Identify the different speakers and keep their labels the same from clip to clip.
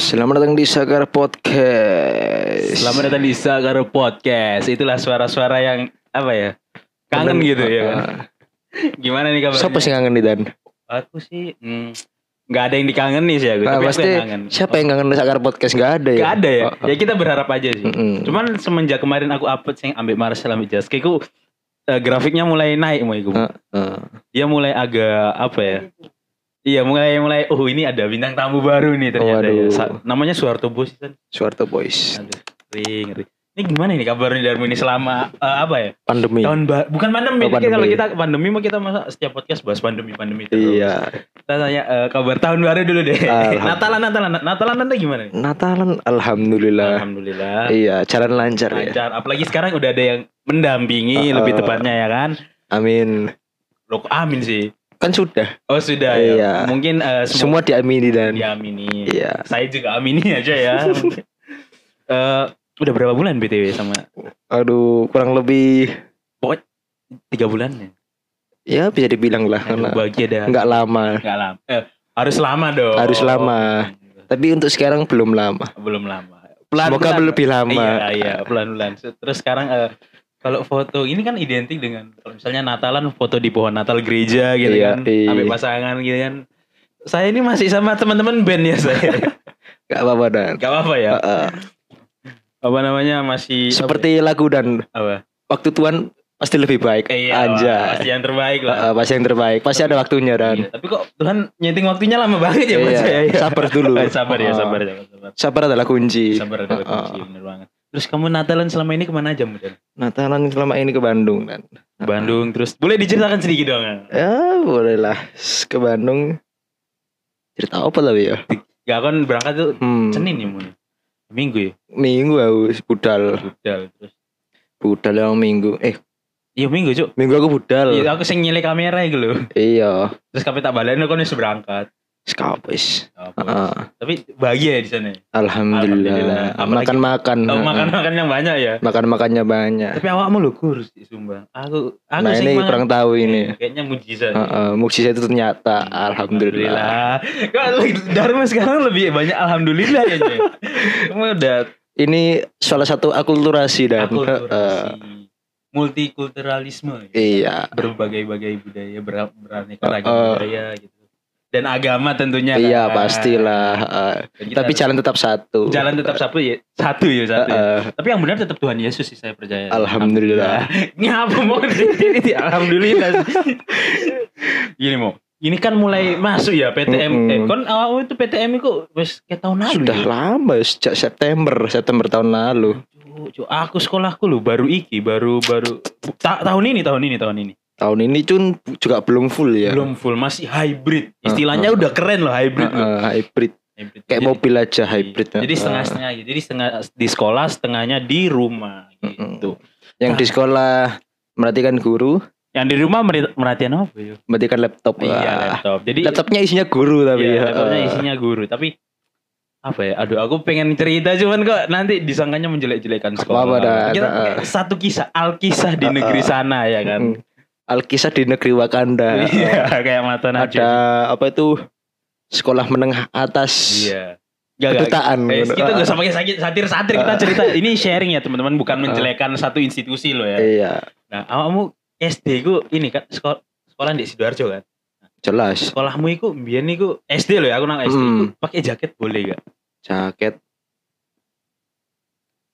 Speaker 1: Selamat datang di Sagar Podcast.
Speaker 2: Selamat datang di Sagaro Podcast. Itulah suara-suara yang apa ya?
Speaker 1: Kangen,
Speaker 2: Kangen gitu ya.
Speaker 1: uh,
Speaker 2: kan? Gimana nih kabarnya?
Speaker 1: Siapa sih yang kangen di Dan?
Speaker 2: Aku sih hmm, nggak ada yang dikangeni sih aku.
Speaker 1: Nah,
Speaker 2: tapi aku
Speaker 1: pasti
Speaker 2: yang kangen.
Speaker 1: siapa yang kangen di Sagar Podcast? Gak ada ya?
Speaker 2: Gak ada ya.
Speaker 1: Oh, oh.
Speaker 2: Ya kita berharap aja sih.
Speaker 1: Mm-mm.
Speaker 2: Cuman semenjak kemarin aku upload sih ambil Marcel ambil Jaske, ku eh, grafiknya mulai naik mau iku.
Speaker 1: Uh, uh.
Speaker 2: Dia mulai agak apa ya? Iya mulai mulai. Oh ini ada bintang tamu baru nih ternyata.
Speaker 1: Waduh.
Speaker 2: Ya. Sa- namanya Suharto Bos. Kan?
Speaker 1: Suarto Boys.
Speaker 2: Aduh, ngeri, ngeri. Ini gimana nih kabarnya Darmo ini selama eh, apa ya?
Speaker 1: Pandemi.
Speaker 2: Tahun ba- bukan
Speaker 1: Iya. Oh,
Speaker 2: pandemi. Kan Kalau
Speaker 1: pandemi.
Speaker 2: kita pandemi mah kita masa setiap podcast bahas pandemi pandemi terus.
Speaker 1: Iya.
Speaker 2: Kita tanya eh, kabar tahun baru dulu deh.
Speaker 1: Alhamdulillah.
Speaker 2: Natalan Natalan Natalan Anda gimana nih?
Speaker 1: Natalan alhamdulillah.
Speaker 2: Alhamdulillah.
Speaker 1: Iya, jalan lancar ya.
Speaker 2: Ah, Lancar. Apalagi sekarang udah ada yang mendampingi
Speaker 1: Uh, uh.
Speaker 2: lebih tepatnya ya kan.
Speaker 1: Amin.
Speaker 2: Loh, kok amin sih.
Speaker 1: Kan sudah.
Speaker 2: Oh, sudah
Speaker 1: Iya.
Speaker 2: ya. Mungkin eh,
Speaker 1: Semua
Speaker 2: semua
Speaker 1: diamini Dan.
Speaker 2: diamini.
Speaker 1: Iya.
Speaker 2: Saya juga amini aja ya. Eh, udah berapa bulan BTW sama?
Speaker 1: Aduh, kurang lebih
Speaker 2: Tiga bulan ya.
Speaker 1: ya bisa dibilang lah karena
Speaker 2: Aduh, bahagia dah.
Speaker 1: nggak lama.
Speaker 2: Enggak lama. Eh, harus lama dong.
Speaker 1: Harus lama. Tapi untuk sekarang belum lama.
Speaker 2: Belum lama.
Speaker 1: Semoga lebih lama.
Speaker 2: Iya, iya, pelan-pelan. Terus sekarang eh, kalau foto ini kan identik dengan kalau misalnya Natalan foto di pohon Natal gereja gitu
Speaker 1: Iya,
Speaker 2: kan,
Speaker 1: iya.
Speaker 2: sampai pasangan gitu kan. Saya ini masih sama teman-teman band ya saya.
Speaker 1: Gak apa-apa Dan.
Speaker 2: Gak apa-apa ya.
Speaker 1: Uh, uh.
Speaker 2: Apa namanya masih apa
Speaker 1: Seperti lagu Dan
Speaker 2: ya? apa?
Speaker 1: waktu Tuhan pasti lebih baik.
Speaker 2: Eh, iya,
Speaker 1: Anjay.
Speaker 2: pasti yang terbaik lah.
Speaker 1: Uh, uh, pasti yang terbaik. Pasti ada waktunya dan.
Speaker 2: Iya, Tapi kok Tuhan nyeting waktunya lama banget ya buat
Speaker 1: Iya,
Speaker 2: saya. ya.
Speaker 1: sabar dulu.
Speaker 2: Eh, sabar ya,
Speaker 1: Ah.
Speaker 2: sabar, sabar, sabar.
Speaker 1: Sabar adalah kunci. Uh,
Speaker 2: Sabar, sabar, Iya,
Speaker 1: uh.
Speaker 2: bener banget. Terus kamu Natalan selama ini kemana aja, Mudan?
Speaker 1: Natalan selama ini ke Bandung dan.
Speaker 2: Bandung terus boleh diceritakan sedikit dong
Speaker 1: Ya bolehlah ke Bandung. Cerita apa tapi ya?
Speaker 2: gak kan berangkat tuh
Speaker 1: Hmm.
Speaker 2: Senin ya mun Minggu ya
Speaker 1: Minggu aku budal,
Speaker 2: budal terus
Speaker 1: budal yang minggu. Eh
Speaker 2: iya Minggu cuk
Speaker 1: minggu aku budal.
Speaker 2: iya aku sing nyilek kamera iku lho
Speaker 1: Iya.
Speaker 2: terus kape tak balen aku wis berangkat
Speaker 1: Skapis.
Speaker 2: Gak apa.
Speaker 1: Uh,
Speaker 2: tapi bahagia ya di sana Alhamdulillah.
Speaker 1: Alhamdulillah.
Speaker 2: Apalagi-
Speaker 1: Makan makan.
Speaker 2: oh, makan makan yang banyak ya
Speaker 1: Makan makannya banyak.
Speaker 2: tapi awakmu lho kurus di Sumba aku aku Iya.
Speaker 1: Nah
Speaker 2: sing
Speaker 1: ini
Speaker 2: mangan-
Speaker 1: kurang tahu ini.
Speaker 2: kayaknya mujizat
Speaker 1: Uh, uh, mukjizat itu ternyata alhamdulillah.
Speaker 2: Alhamdulillah. Kok Dharma sekarang lebih banyak alhamdulillah ya. Jay? Kamu udah
Speaker 1: Ini salah satu akulturasi dan uh,
Speaker 2: akulturasi multikulturalisme. ya?
Speaker 1: iya.
Speaker 2: berbagai-bagai budaya ber- beraneka
Speaker 1: Uh,
Speaker 2: ragam
Speaker 1: uh.
Speaker 2: budaya gitu dan agama tentunya
Speaker 1: Iya
Speaker 2: kan.
Speaker 1: pastilah. uh,
Speaker 2: Dan kita
Speaker 1: tapi
Speaker 2: harus-
Speaker 1: jalan tetap satu.
Speaker 2: jalan tetap satu ya satu ya
Speaker 1: Uh,
Speaker 2: satu ya.
Speaker 1: uh,
Speaker 2: tapi yang benar tetap Tuhan Yesus sih saya percaya
Speaker 1: alhamdulillah.
Speaker 2: ngapa mau ini di- alhamdulillah gini mau ini kan mulai masuk ya PTM eh,
Speaker 1: Mm-mm.
Speaker 2: kon awal itu PTM itu wes kayak tahun lalu
Speaker 1: Sudah
Speaker 2: ya.
Speaker 1: lama sejak September September tahun lalu.
Speaker 2: Cu- cu- aku sekolahku loh baru iki baru baru ta- tahun ini tahun ini tahun ini
Speaker 1: Tahun ini cun juga belum full ya.
Speaker 2: belum full masih hybrid
Speaker 1: Uh,
Speaker 2: istilahnya
Speaker 1: uh.
Speaker 2: udah keren loh
Speaker 1: Uh,
Speaker 2: hybrid loh.
Speaker 1: uh, hybrid.
Speaker 2: Hybrid.
Speaker 1: Kayak
Speaker 2: Jadi-
Speaker 1: mobil aja hybrid.
Speaker 2: Jadi
Speaker 1: uh,
Speaker 2: setengah-setengah gitu. Jadi setengah di sekolah, setengahnya di rumah gitu.
Speaker 1: Yang di sekolah merhatikan guru,
Speaker 2: Yang di rumah meri- merhatiin apa ya?
Speaker 1: merhatikan laptop.
Speaker 2: Iya,
Speaker 1: Wah.
Speaker 2: laptop. Jadi
Speaker 1: Laptopnya isinya guru tapi
Speaker 2: iya,
Speaker 1: ya.
Speaker 2: laptopnya
Speaker 1: Uh,
Speaker 2: isinya guru, tapi apa ya? Aduh, aku pengen cerita cuman kok nanti disangkanya menjelek-jelekan
Speaker 1: Apa-apa,
Speaker 2: sekolah.
Speaker 1: Dan.
Speaker 2: Kita
Speaker 1: Ah.
Speaker 2: kayak satu kisah, alkisah
Speaker 1: Ah,
Speaker 2: di
Speaker 1: ah.
Speaker 2: negeri sana ya kan.
Speaker 1: Mm. Alkisah di negeri Wakanda.
Speaker 2: Iya, kayak mata
Speaker 1: ada
Speaker 2: najwa.
Speaker 1: apa itu sekolah menengah atas
Speaker 2: Iya. Gak, gak,
Speaker 1: kedutaan.
Speaker 2: Eh,
Speaker 1: gitu.
Speaker 2: kita gak usah pakai sakit satir satir kita cerita ini sharing ya teman-teman bukan menjelekan satu institusi loh ya.
Speaker 1: Iya,
Speaker 2: Nah, awakmu SD ku ini kan sekolah sekolah di Sidoarjo kan.
Speaker 1: jelas.
Speaker 2: Sekolahmu iku mbiyen iku SD loh ya, aku nang SD
Speaker 1: Hmm.
Speaker 2: iku pakai jaket boleh gak?
Speaker 1: Jaket.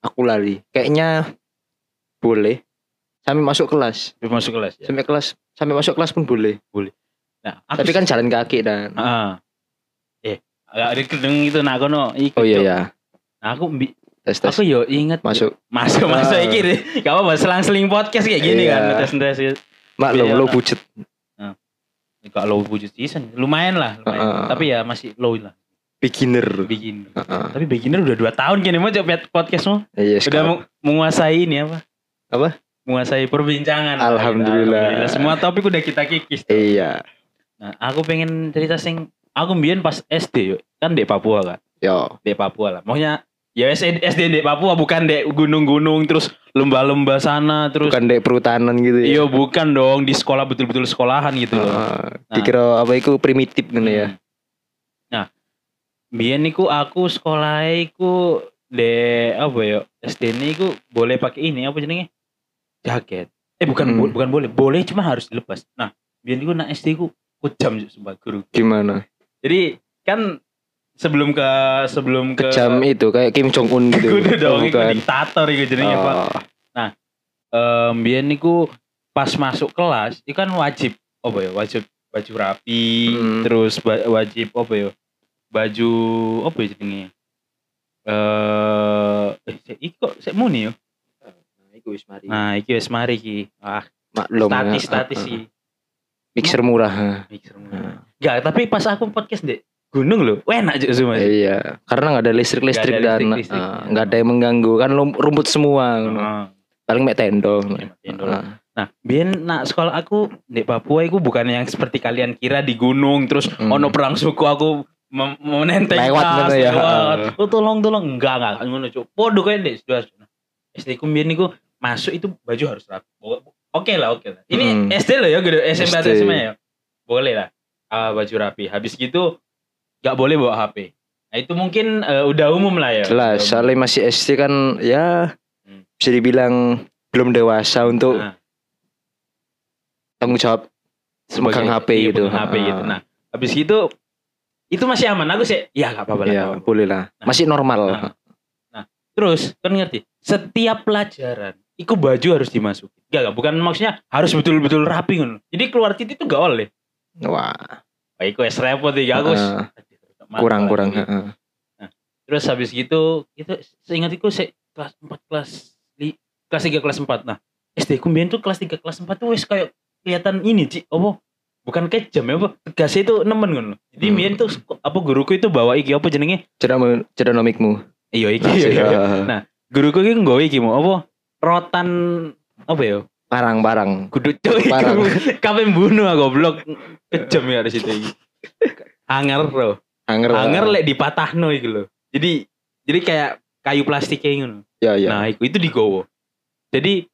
Speaker 1: Aku lari. Kayaknya boleh. Sampai masuk kelas.
Speaker 2: Belum masuk kelas ya.
Speaker 1: Sampai kelas, sampai masuk kelas pun boleh.
Speaker 2: Nah, aku
Speaker 1: Tapi kan jalan kaki dan
Speaker 2: heeh. Eh, agak ada gedung itu nah kono iku.
Speaker 1: Oh iya
Speaker 2: Cok.
Speaker 1: ya.
Speaker 2: Nah, aku mbi-
Speaker 1: Tes tes
Speaker 2: aku yo inget
Speaker 1: masuk.
Speaker 2: masuk masuk
Speaker 1: Ah.
Speaker 2: iki deh. Gak apa-apa selang-seling podcast kayak gini
Speaker 1: Iya.
Speaker 2: kan ngetes-ngetes gitu.
Speaker 1: Maklum
Speaker 2: Iya.
Speaker 1: lo bujet.
Speaker 2: Gak low budget season. Lumayan lah, lumayan.
Speaker 1: Ah, ah.
Speaker 2: Tapi ya masih low lah.
Speaker 1: beginner.
Speaker 2: Beginner.
Speaker 1: Heeh.
Speaker 2: Tapi beginner udah 2 tahun gini mau coba podcastmu.
Speaker 1: Iya,
Speaker 2: Udah
Speaker 1: sekarang.
Speaker 2: meng- menguasai ini apa?
Speaker 1: Apa?
Speaker 2: Menguasai perbincangan.
Speaker 1: Alhamdulillah.
Speaker 2: Semua topik udah kita kikis.
Speaker 1: Iya.
Speaker 2: Nah, aku pengen cerita sing aku mbien pas SD yuk. Kan di Papua kan.
Speaker 1: Yo.
Speaker 2: Di Papua lah. Maunya ya SD, SD di Papua bukan di gunung-gunung terus lembah-lembah sana terus
Speaker 1: Bukan dek perhutanan gitu ya.
Speaker 2: Iya bukan dong di sekolah betul-betul sekolahan gitu loh.
Speaker 1: Iya.
Speaker 2: Hmm.
Speaker 1: Heeh. Dikira apa itu primitif gitu ya.
Speaker 2: Nah, Biyen niku aku sekolah iku de apa ya? SD niku boleh pakai ini apa jenenge? Jaket. Eh bukan
Speaker 1: Hmm.
Speaker 2: bo- bukan boleh, boleh cuma harus dilepas. Nah, biyen niku nak SD ku kejam Cuk, sumpah guru.
Speaker 1: Gimana?
Speaker 2: Jadi kan sebelum ke sebelum ke
Speaker 1: Kejam itu kayak Kim Jong Un gitu.
Speaker 2: Kudu dong, iku
Speaker 1: bukan.
Speaker 2: diktator iku jenenge, Pak.
Speaker 1: Oh,
Speaker 2: Em, biyen niku pas masuk kelas itu kan wajib apa ya wajib baju rapi
Speaker 1: Hmm.
Speaker 2: terus ba- wajib apa ya baju apa ya jenenge eh eh sik- iki kok sik muni yo
Speaker 1: Nah, iku wis mari.
Speaker 2: nah iki wis mari iki ah
Speaker 1: Maklum.
Speaker 2: statis
Speaker 1: ya.
Speaker 2: statis
Speaker 1: Ah, ah.
Speaker 2: iki
Speaker 1: Mixer murah. ah.
Speaker 2: mixer mulu. Enggak, tapi pas aku podcast deh gunung loh enak juga semua
Speaker 1: Iya, karena nggak ada listrik listrik
Speaker 2: Nggak ada
Speaker 1: dan
Speaker 2: listrik-listrik. Ah.
Speaker 1: ah, nggak ada yang mengganggu kan lum- rumput semua,
Speaker 2: Heeh.
Speaker 1: paling mek tendo.
Speaker 2: Indo.
Speaker 1: Ah,
Speaker 2: Nah, biyen nak sekolah aku di Papua itu bukan yang seperti kalian kira di gunung terus
Speaker 1: Hmm.
Speaker 2: ono perang suku aku mem- menenteng
Speaker 1: Lewat
Speaker 2: tas,
Speaker 1: ngono ya.
Speaker 2: lewat. Oh, tolong tolong enggak enggak ngono cuk. Podo kae Dek. Sudah, sudah. SD ku biyen niku masuk itu baju harus rapi. Bo- bo- Oke lah, oke lah.
Speaker 1: Hmm.
Speaker 2: Ini SD loh ya, gede SMP atau
Speaker 1: SD.
Speaker 2: SMA ya. Boleh lah. Ah, baju rapi. Habis gitu nggak boleh bawa HP. Nah, itu mungkin eh, udah umum lah ya.
Speaker 1: Jelas,
Speaker 2: Udah
Speaker 1: soalnya
Speaker 2: umum.
Speaker 1: masih SD kan ya
Speaker 2: Hmm.
Speaker 1: bisa dibilang belum dewasa untuk
Speaker 2: Nah.
Speaker 1: tanggung jawab megang HP
Speaker 2: iya,
Speaker 1: gitu.
Speaker 2: pegang HP
Speaker 1: Ah.
Speaker 2: gitu. Nah, habis itu itu masih aman. Aku sih, ya nggak apa-apa lah. nggak
Speaker 1: Ya,
Speaker 2: apa-apa.
Speaker 1: boleh lah.
Speaker 2: Nah.
Speaker 1: Masih normal.
Speaker 2: Nah. Terus kan ngerti, setiap pelajaran itu baju harus dimasukin. Gak, gak, bukan maksudnya harus betul-betul rapi ngono. Jadi keluar titik itu gak oleh.
Speaker 1: Wah,
Speaker 2: Wah, iku es repot iki aku. wis-
Speaker 1: ah,
Speaker 2: Aduh,
Speaker 1: kurang-kurang.
Speaker 2: mantap.
Speaker 1: ah.
Speaker 2: Terus habis gitu, itu seingat iku sik kelas 4 kelas li, kelas 3 kelas 4. Nah, SD ku mbiyen tuh kelas 3 kelas 4 tuh wis kayak kelihatan ini, Ci. Apa? Bukan kejam ya, apa? Tegasnya itu nemen ngono. Jadi
Speaker 1: Hmm.
Speaker 2: mbiyen tuh apa guruku itu bawa iki apa jenenge?
Speaker 1: Cerama- Ceronomikmu.
Speaker 2: Iya iki. iya, iya.
Speaker 1: Ah,
Speaker 2: Guruku iki nggawe iki mau apa? Rotan apa ya?
Speaker 1: Parang-parang.
Speaker 2: Gudut cuy.
Speaker 1: Parang.
Speaker 2: Kape bunuh aku ah, goblok. Kejam ya dari situ iki. Anger bro.
Speaker 1: Anger.
Speaker 2: Anger lek dipatahno iki lho. Jadi jadi kayak kayu plastik kayak ngono.
Speaker 1: Ya, ya.
Speaker 2: Nah, iku itu digowo. Jadi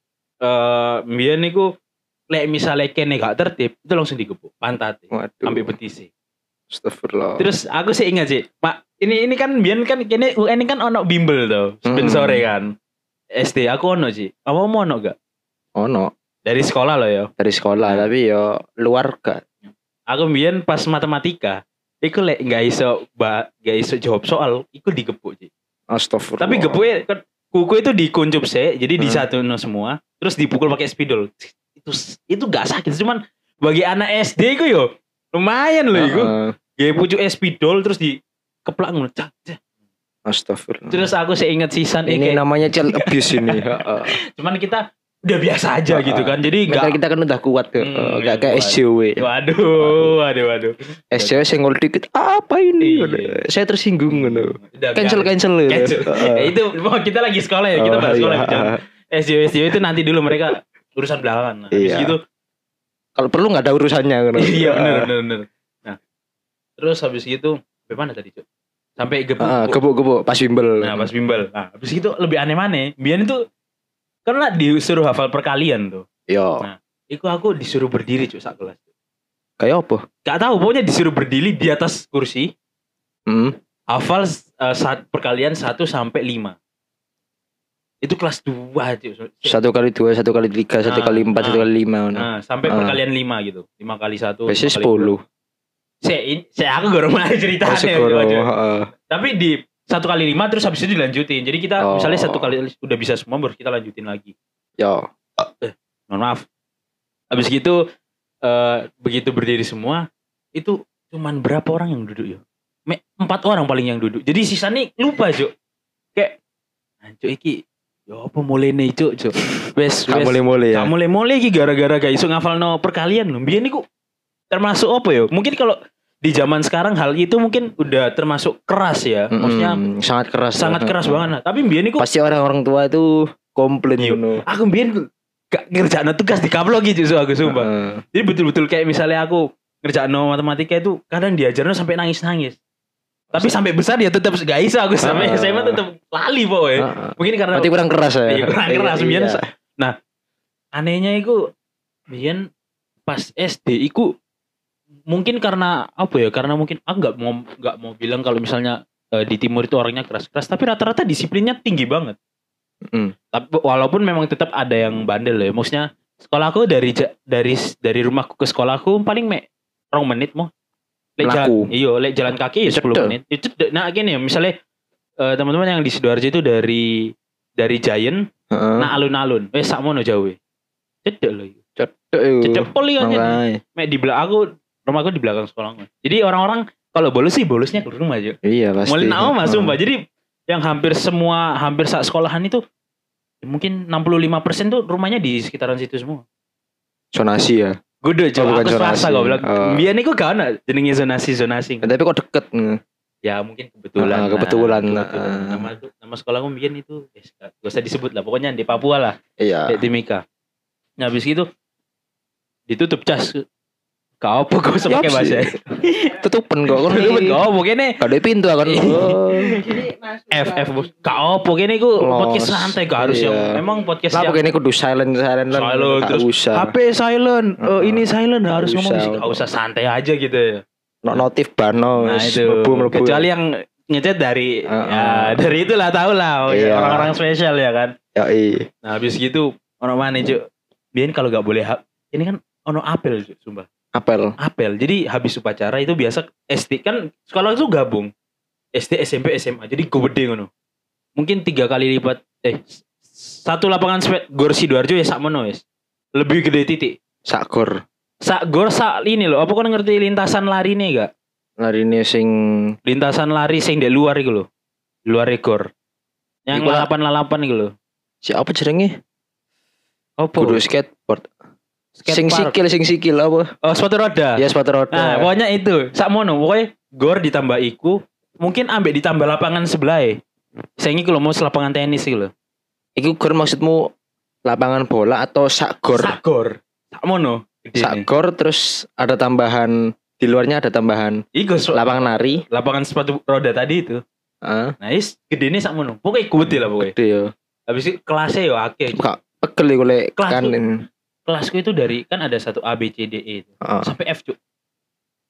Speaker 2: eh mbiyen niku lek misale kene gak tertib, itu langsung digebuk pantate
Speaker 1: Waduh.
Speaker 2: sampai betisi.
Speaker 1: Astagfirullah.
Speaker 2: Terus aku sih ingat sih, Pak, ini ini kan biyen kan kene UN ini kan ono bimbel tuh,
Speaker 1: Mm.
Speaker 2: ben sore kan. SD aku ono sih. Apa mau ono gak?
Speaker 1: ono
Speaker 2: Dari sekolah loh ya.
Speaker 1: dari sekolah tapi yo luar gak
Speaker 2: Aku biyen pas matematika, iku lek gak iso ba, gak iso jawab soal, iku digebuk sih.
Speaker 1: Astagfirullah.
Speaker 2: Tapi gebuknya kan kuku itu dikuncup sih, jadi
Speaker 1: Hmm.
Speaker 2: disatuin semua, terus dipukul pakai spidol. Itu itu gak sakit, cuman bagi anak SD iku yo lumayan loh iku.
Speaker 1: Heeh.
Speaker 2: Gaya pucuk spidol terus dikeplak ngono. cak, cak.
Speaker 1: Astagfirullah.
Speaker 2: Terus aku seinget sisan
Speaker 1: ini
Speaker 2: iki.
Speaker 1: namanya child abuse ini. Heeh.
Speaker 2: cuman kita udah biasa aja
Speaker 1: Ah,
Speaker 2: gitu kan jadi
Speaker 1: Mental
Speaker 2: nggak
Speaker 1: kita kan udah kuat ke,
Speaker 2: Hmm,
Speaker 1: nggak
Speaker 2: udah
Speaker 1: kayak
Speaker 2: kuat.
Speaker 1: SJW.
Speaker 2: waduh waduh waduh
Speaker 1: SJW senggol dikit, apa ini?
Speaker 2: Iya.
Speaker 1: Saya tersinggung gitu.
Speaker 2: Udah
Speaker 1: Cancel
Speaker 2: biasa.
Speaker 1: cancel gitu.
Speaker 2: cancel
Speaker 1: Heeh.
Speaker 2: Eh, itu wah, kita lagi sekolah ya kita
Speaker 1: Oh,
Speaker 2: bahas sekolah
Speaker 1: iya.
Speaker 2: ya SJW SJW itu nanti dulu mereka urusan belakangan nah, habis
Speaker 1: Iya.
Speaker 2: gitu
Speaker 1: Kalau perlu nggak ada urusannya gitu.
Speaker 2: iya bener bener bener nah terus habis gitu sampai mana tadi Cuk? sampai gebuk
Speaker 1: Heeh, gebuk-gebuk pas Ah, bimbel.
Speaker 2: nah pas bimbel nah habis itu lebih aneh aneh biar itu karena disuruh hafal perkalian tuh
Speaker 1: Yo,
Speaker 2: Iku aku disuruh berdiri cuy sak kelas.
Speaker 1: kayak apa?
Speaker 2: Gak tahu pokoknya disuruh berdiri di atas kursi.
Speaker 1: Hmm.
Speaker 2: hafal eh, saat perkalian 1 sampai 5. Itu kelas 2 aja.
Speaker 1: Satu kali dua, satu kali tiga, satu
Speaker 2: Ah,
Speaker 1: kali empat, satu
Speaker 2: ah.
Speaker 1: kali lima. gitu.
Speaker 2: Nah, sampai
Speaker 1: Ah.
Speaker 2: perkalian 5 gitu. 5 kali 1.
Speaker 1: Biasanya sepuluh.
Speaker 2: Saya saya aku gak rumah ceritanya.
Speaker 1: Oh, segoro,
Speaker 2: gitu aja.
Speaker 1: heeh.
Speaker 2: Tapi di satu kali 5 terus habis itu dilanjutin. Jadi kita
Speaker 1: Oh.
Speaker 2: misalnya satu kali udah bisa semua baru kita lanjutin lagi.
Speaker 1: Yo,
Speaker 2: Mohon maaf. Habis gitu eh, begitu berdiri semua itu cuman berapa orang yang duduk ya? Me- Empat orang paling yang duduk. Jadi sisa nih lupa, Cuk. Kayak anjuk iki ya apa mulene Cuk, Cuk. Wes
Speaker 1: kamu
Speaker 2: wes
Speaker 1: mulai mulai ya.
Speaker 2: Gak mulai-mulai iki gara-gara gak iso ngafalno perkalian lho. Biyen niku termasuk apa ya? Mungkin kalau di zaman sekarang hal itu mungkin udah termasuk keras ya.
Speaker 1: Mm-mm,
Speaker 2: Maksudnya
Speaker 1: sangat keras.
Speaker 2: sangat
Speaker 1: Heeh.
Speaker 2: keras banget. Nah, tapi biyen niku
Speaker 1: Pasti orang-orang tua itu komplain
Speaker 2: Iya.
Speaker 1: gitu.
Speaker 2: aku biyen gak ngerjain tugas di kaplok gitu aku sumpah.
Speaker 1: Heeh.
Speaker 2: Jadi betul-betul kayak misalnya aku ngerjain matematika itu kadang diajarnya sampai nangis-nangis. Tapi sampai besar ya tetap gak iso aku sampai
Speaker 1: Ah.
Speaker 2: SMA tetap lali pokoknya.
Speaker 1: Heeh.
Speaker 2: Mungkin karena
Speaker 1: Berarti kurang keras ya.
Speaker 2: Iya, kurang keras,
Speaker 1: Iya.
Speaker 2: biasa. anehnya itu biyen pas SD iku mungkin karena apa ya? Karena mungkin ah nggak mau nggak mau bilang kalau misalnya eh, di timur itu orangnya keras-keras, tapi rata-rata disiplinnya tinggi banget.
Speaker 1: Mm.
Speaker 2: Tapi walaupun memang tetap ada yang bandel ya. Maksudnya sekolahku dari ja- dari dari rumahku ke sekolahku paling mek rong menit mau. Lek
Speaker 1: Melaku.
Speaker 2: jalan, iya, lek jalan kaki ya 10
Speaker 1: Cedek.
Speaker 2: menit. Ya, cedek. Nah, gini ya, misalnya eh, teman-teman yang di Sidoarjo itu dari dari Giant,
Speaker 1: Heeh.
Speaker 2: nah alun-alun. Wes sakmono jauh. eh. Cedek loh. itu.
Speaker 1: Cedek iku.
Speaker 2: Cedek pol iya, nyen.
Speaker 1: Uh, Makanya.
Speaker 2: Mek di belakang aku, rumahku di belakang sekolahku. Jadi orang-orang kalau bolos sih bolosnya ke rumah aja.
Speaker 1: Iya pasti. Hmm.
Speaker 2: Mulai nama mas
Speaker 1: Heeh.
Speaker 2: sumpah. Jadi yang hampir semua hampir saat sekolahan itu ya mungkin 65% tuh rumahnya di sekitaran situ semua.
Speaker 1: Zonasi ya.
Speaker 2: Gudo
Speaker 1: Oh,
Speaker 2: coba
Speaker 1: bukan
Speaker 2: aku swasta
Speaker 1: zonasi.
Speaker 2: gue bilang.
Speaker 1: Oh.
Speaker 2: Biar nih gak ada jenenge zonasi zonasi.
Speaker 1: Eh, Tapi kok deket nge?
Speaker 2: Ya mungkin
Speaker 1: Ah,
Speaker 2: kebetulan.
Speaker 1: kebetulan,
Speaker 2: Nah,
Speaker 1: ah.
Speaker 2: kebetulan. Nama, nama sekolahku biar itu eh, gak usah disebut lah. Pokoknya di Papua lah.
Speaker 1: Iya.
Speaker 2: Dek Timika. Nah habis gitu ditutup cas. Kau apa kau sebagai
Speaker 1: Yap,
Speaker 2: bahasa?
Speaker 1: Ya, sih. Tutupan kok. Kok
Speaker 2: Tutup kau pokoknya
Speaker 1: Gak ada pintu kan.
Speaker 2: Iya.
Speaker 1: Oh.
Speaker 2: F F bos. Gak apa kene iku
Speaker 1: Los.
Speaker 2: podcast santai gak harus
Speaker 1: Iya.
Speaker 2: yang memang podcast
Speaker 1: Lah
Speaker 2: yang
Speaker 1: pokoknya kudu silent silent lan.
Speaker 2: Silent,
Speaker 1: Gak
Speaker 2: terus
Speaker 1: usah.
Speaker 2: HP silent, eh,
Speaker 1: Heeh.
Speaker 2: ini silent gak harus
Speaker 1: Gak
Speaker 2: ngomong
Speaker 1: usah.
Speaker 2: sih, gak usah santai aja gitu ya.
Speaker 1: No notif bano.
Speaker 2: Nah
Speaker 1: wis,
Speaker 2: itu
Speaker 1: mlebu, mlebu.
Speaker 2: kecuali yang ngechat dari
Speaker 1: Heeh.
Speaker 2: ya, dari itulah tau lah
Speaker 1: Ah, Iya.
Speaker 2: orang-orang spesial ya kan.
Speaker 1: Yoi.
Speaker 2: Nah habis gitu orang mana cuk? Biar kalau gak boleh ha- ini kan ono apel cuk, sumpah.
Speaker 1: Apel.
Speaker 2: apel. Jadi habis upacara itu biasa SD kan sekolah itu gabung. SD, SMP, SMA. Jadi gede ngono. Mungkin tiga kali lipat eh s- satu lapangan sepet gor Sidoarjo ya sak mono wis. Lebih gede titik.
Speaker 1: Sakgor.
Speaker 2: Sak gor sak ini loh. Apa kan ngerti lintasan lari nih gak?
Speaker 1: Hari ini sing
Speaker 2: Lintasan lari sing di luar iku loh. Luar e gor.
Speaker 1: Iku
Speaker 2: Yang
Speaker 1: lah.
Speaker 2: lalapan-lalapan iku loh.
Speaker 1: siapa jenenge?
Speaker 2: Apa?
Speaker 1: Kudu skateboard.
Speaker 2: Skatepark.
Speaker 1: Sing sikil sing sikil apa?
Speaker 2: Oh, sepatu roda.
Speaker 1: Ya sepatu
Speaker 2: Nah,
Speaker 1: roda.
Speaker 2: pokoknya itu. Sakmono, pokoknya gor ditambah iku, mungkin ambek ditambah lapangan sebelah. e. Saingi kalau mau lapangan tenis sih loh.
Speaker 1: Iku gor maksudmu lapangan bola atau sakgor?
Speaker 2: Sakgor. Sakmono. Gede nih.
Speaker 1: Sakgor terus ada tambahan di luarnya ada tambahan
Speaker 2: Iku so-
Speaker 1: lapangan nari.
Speaker 2: lapangan sepatu roda tadi itu.
Speaker 1: Heeh.
Speaker 2: Nah, is gede nih sakmono. Pokoknya gede lah pokoknya.
Speaker 1: Gede ya.
Speaker 2: Habis itu kelasnya ya akeh.
Speaker 1: Kak pegel iku lek
Speaker 2: Kelas
Speaker 1: kan.
Speaker 2: Kelasku itu dari kan ada satu A B C D E itu.
Speaker 1: Heeh.
Speaker 2: Sampai F, Cuk.
Speaker 1: Ah.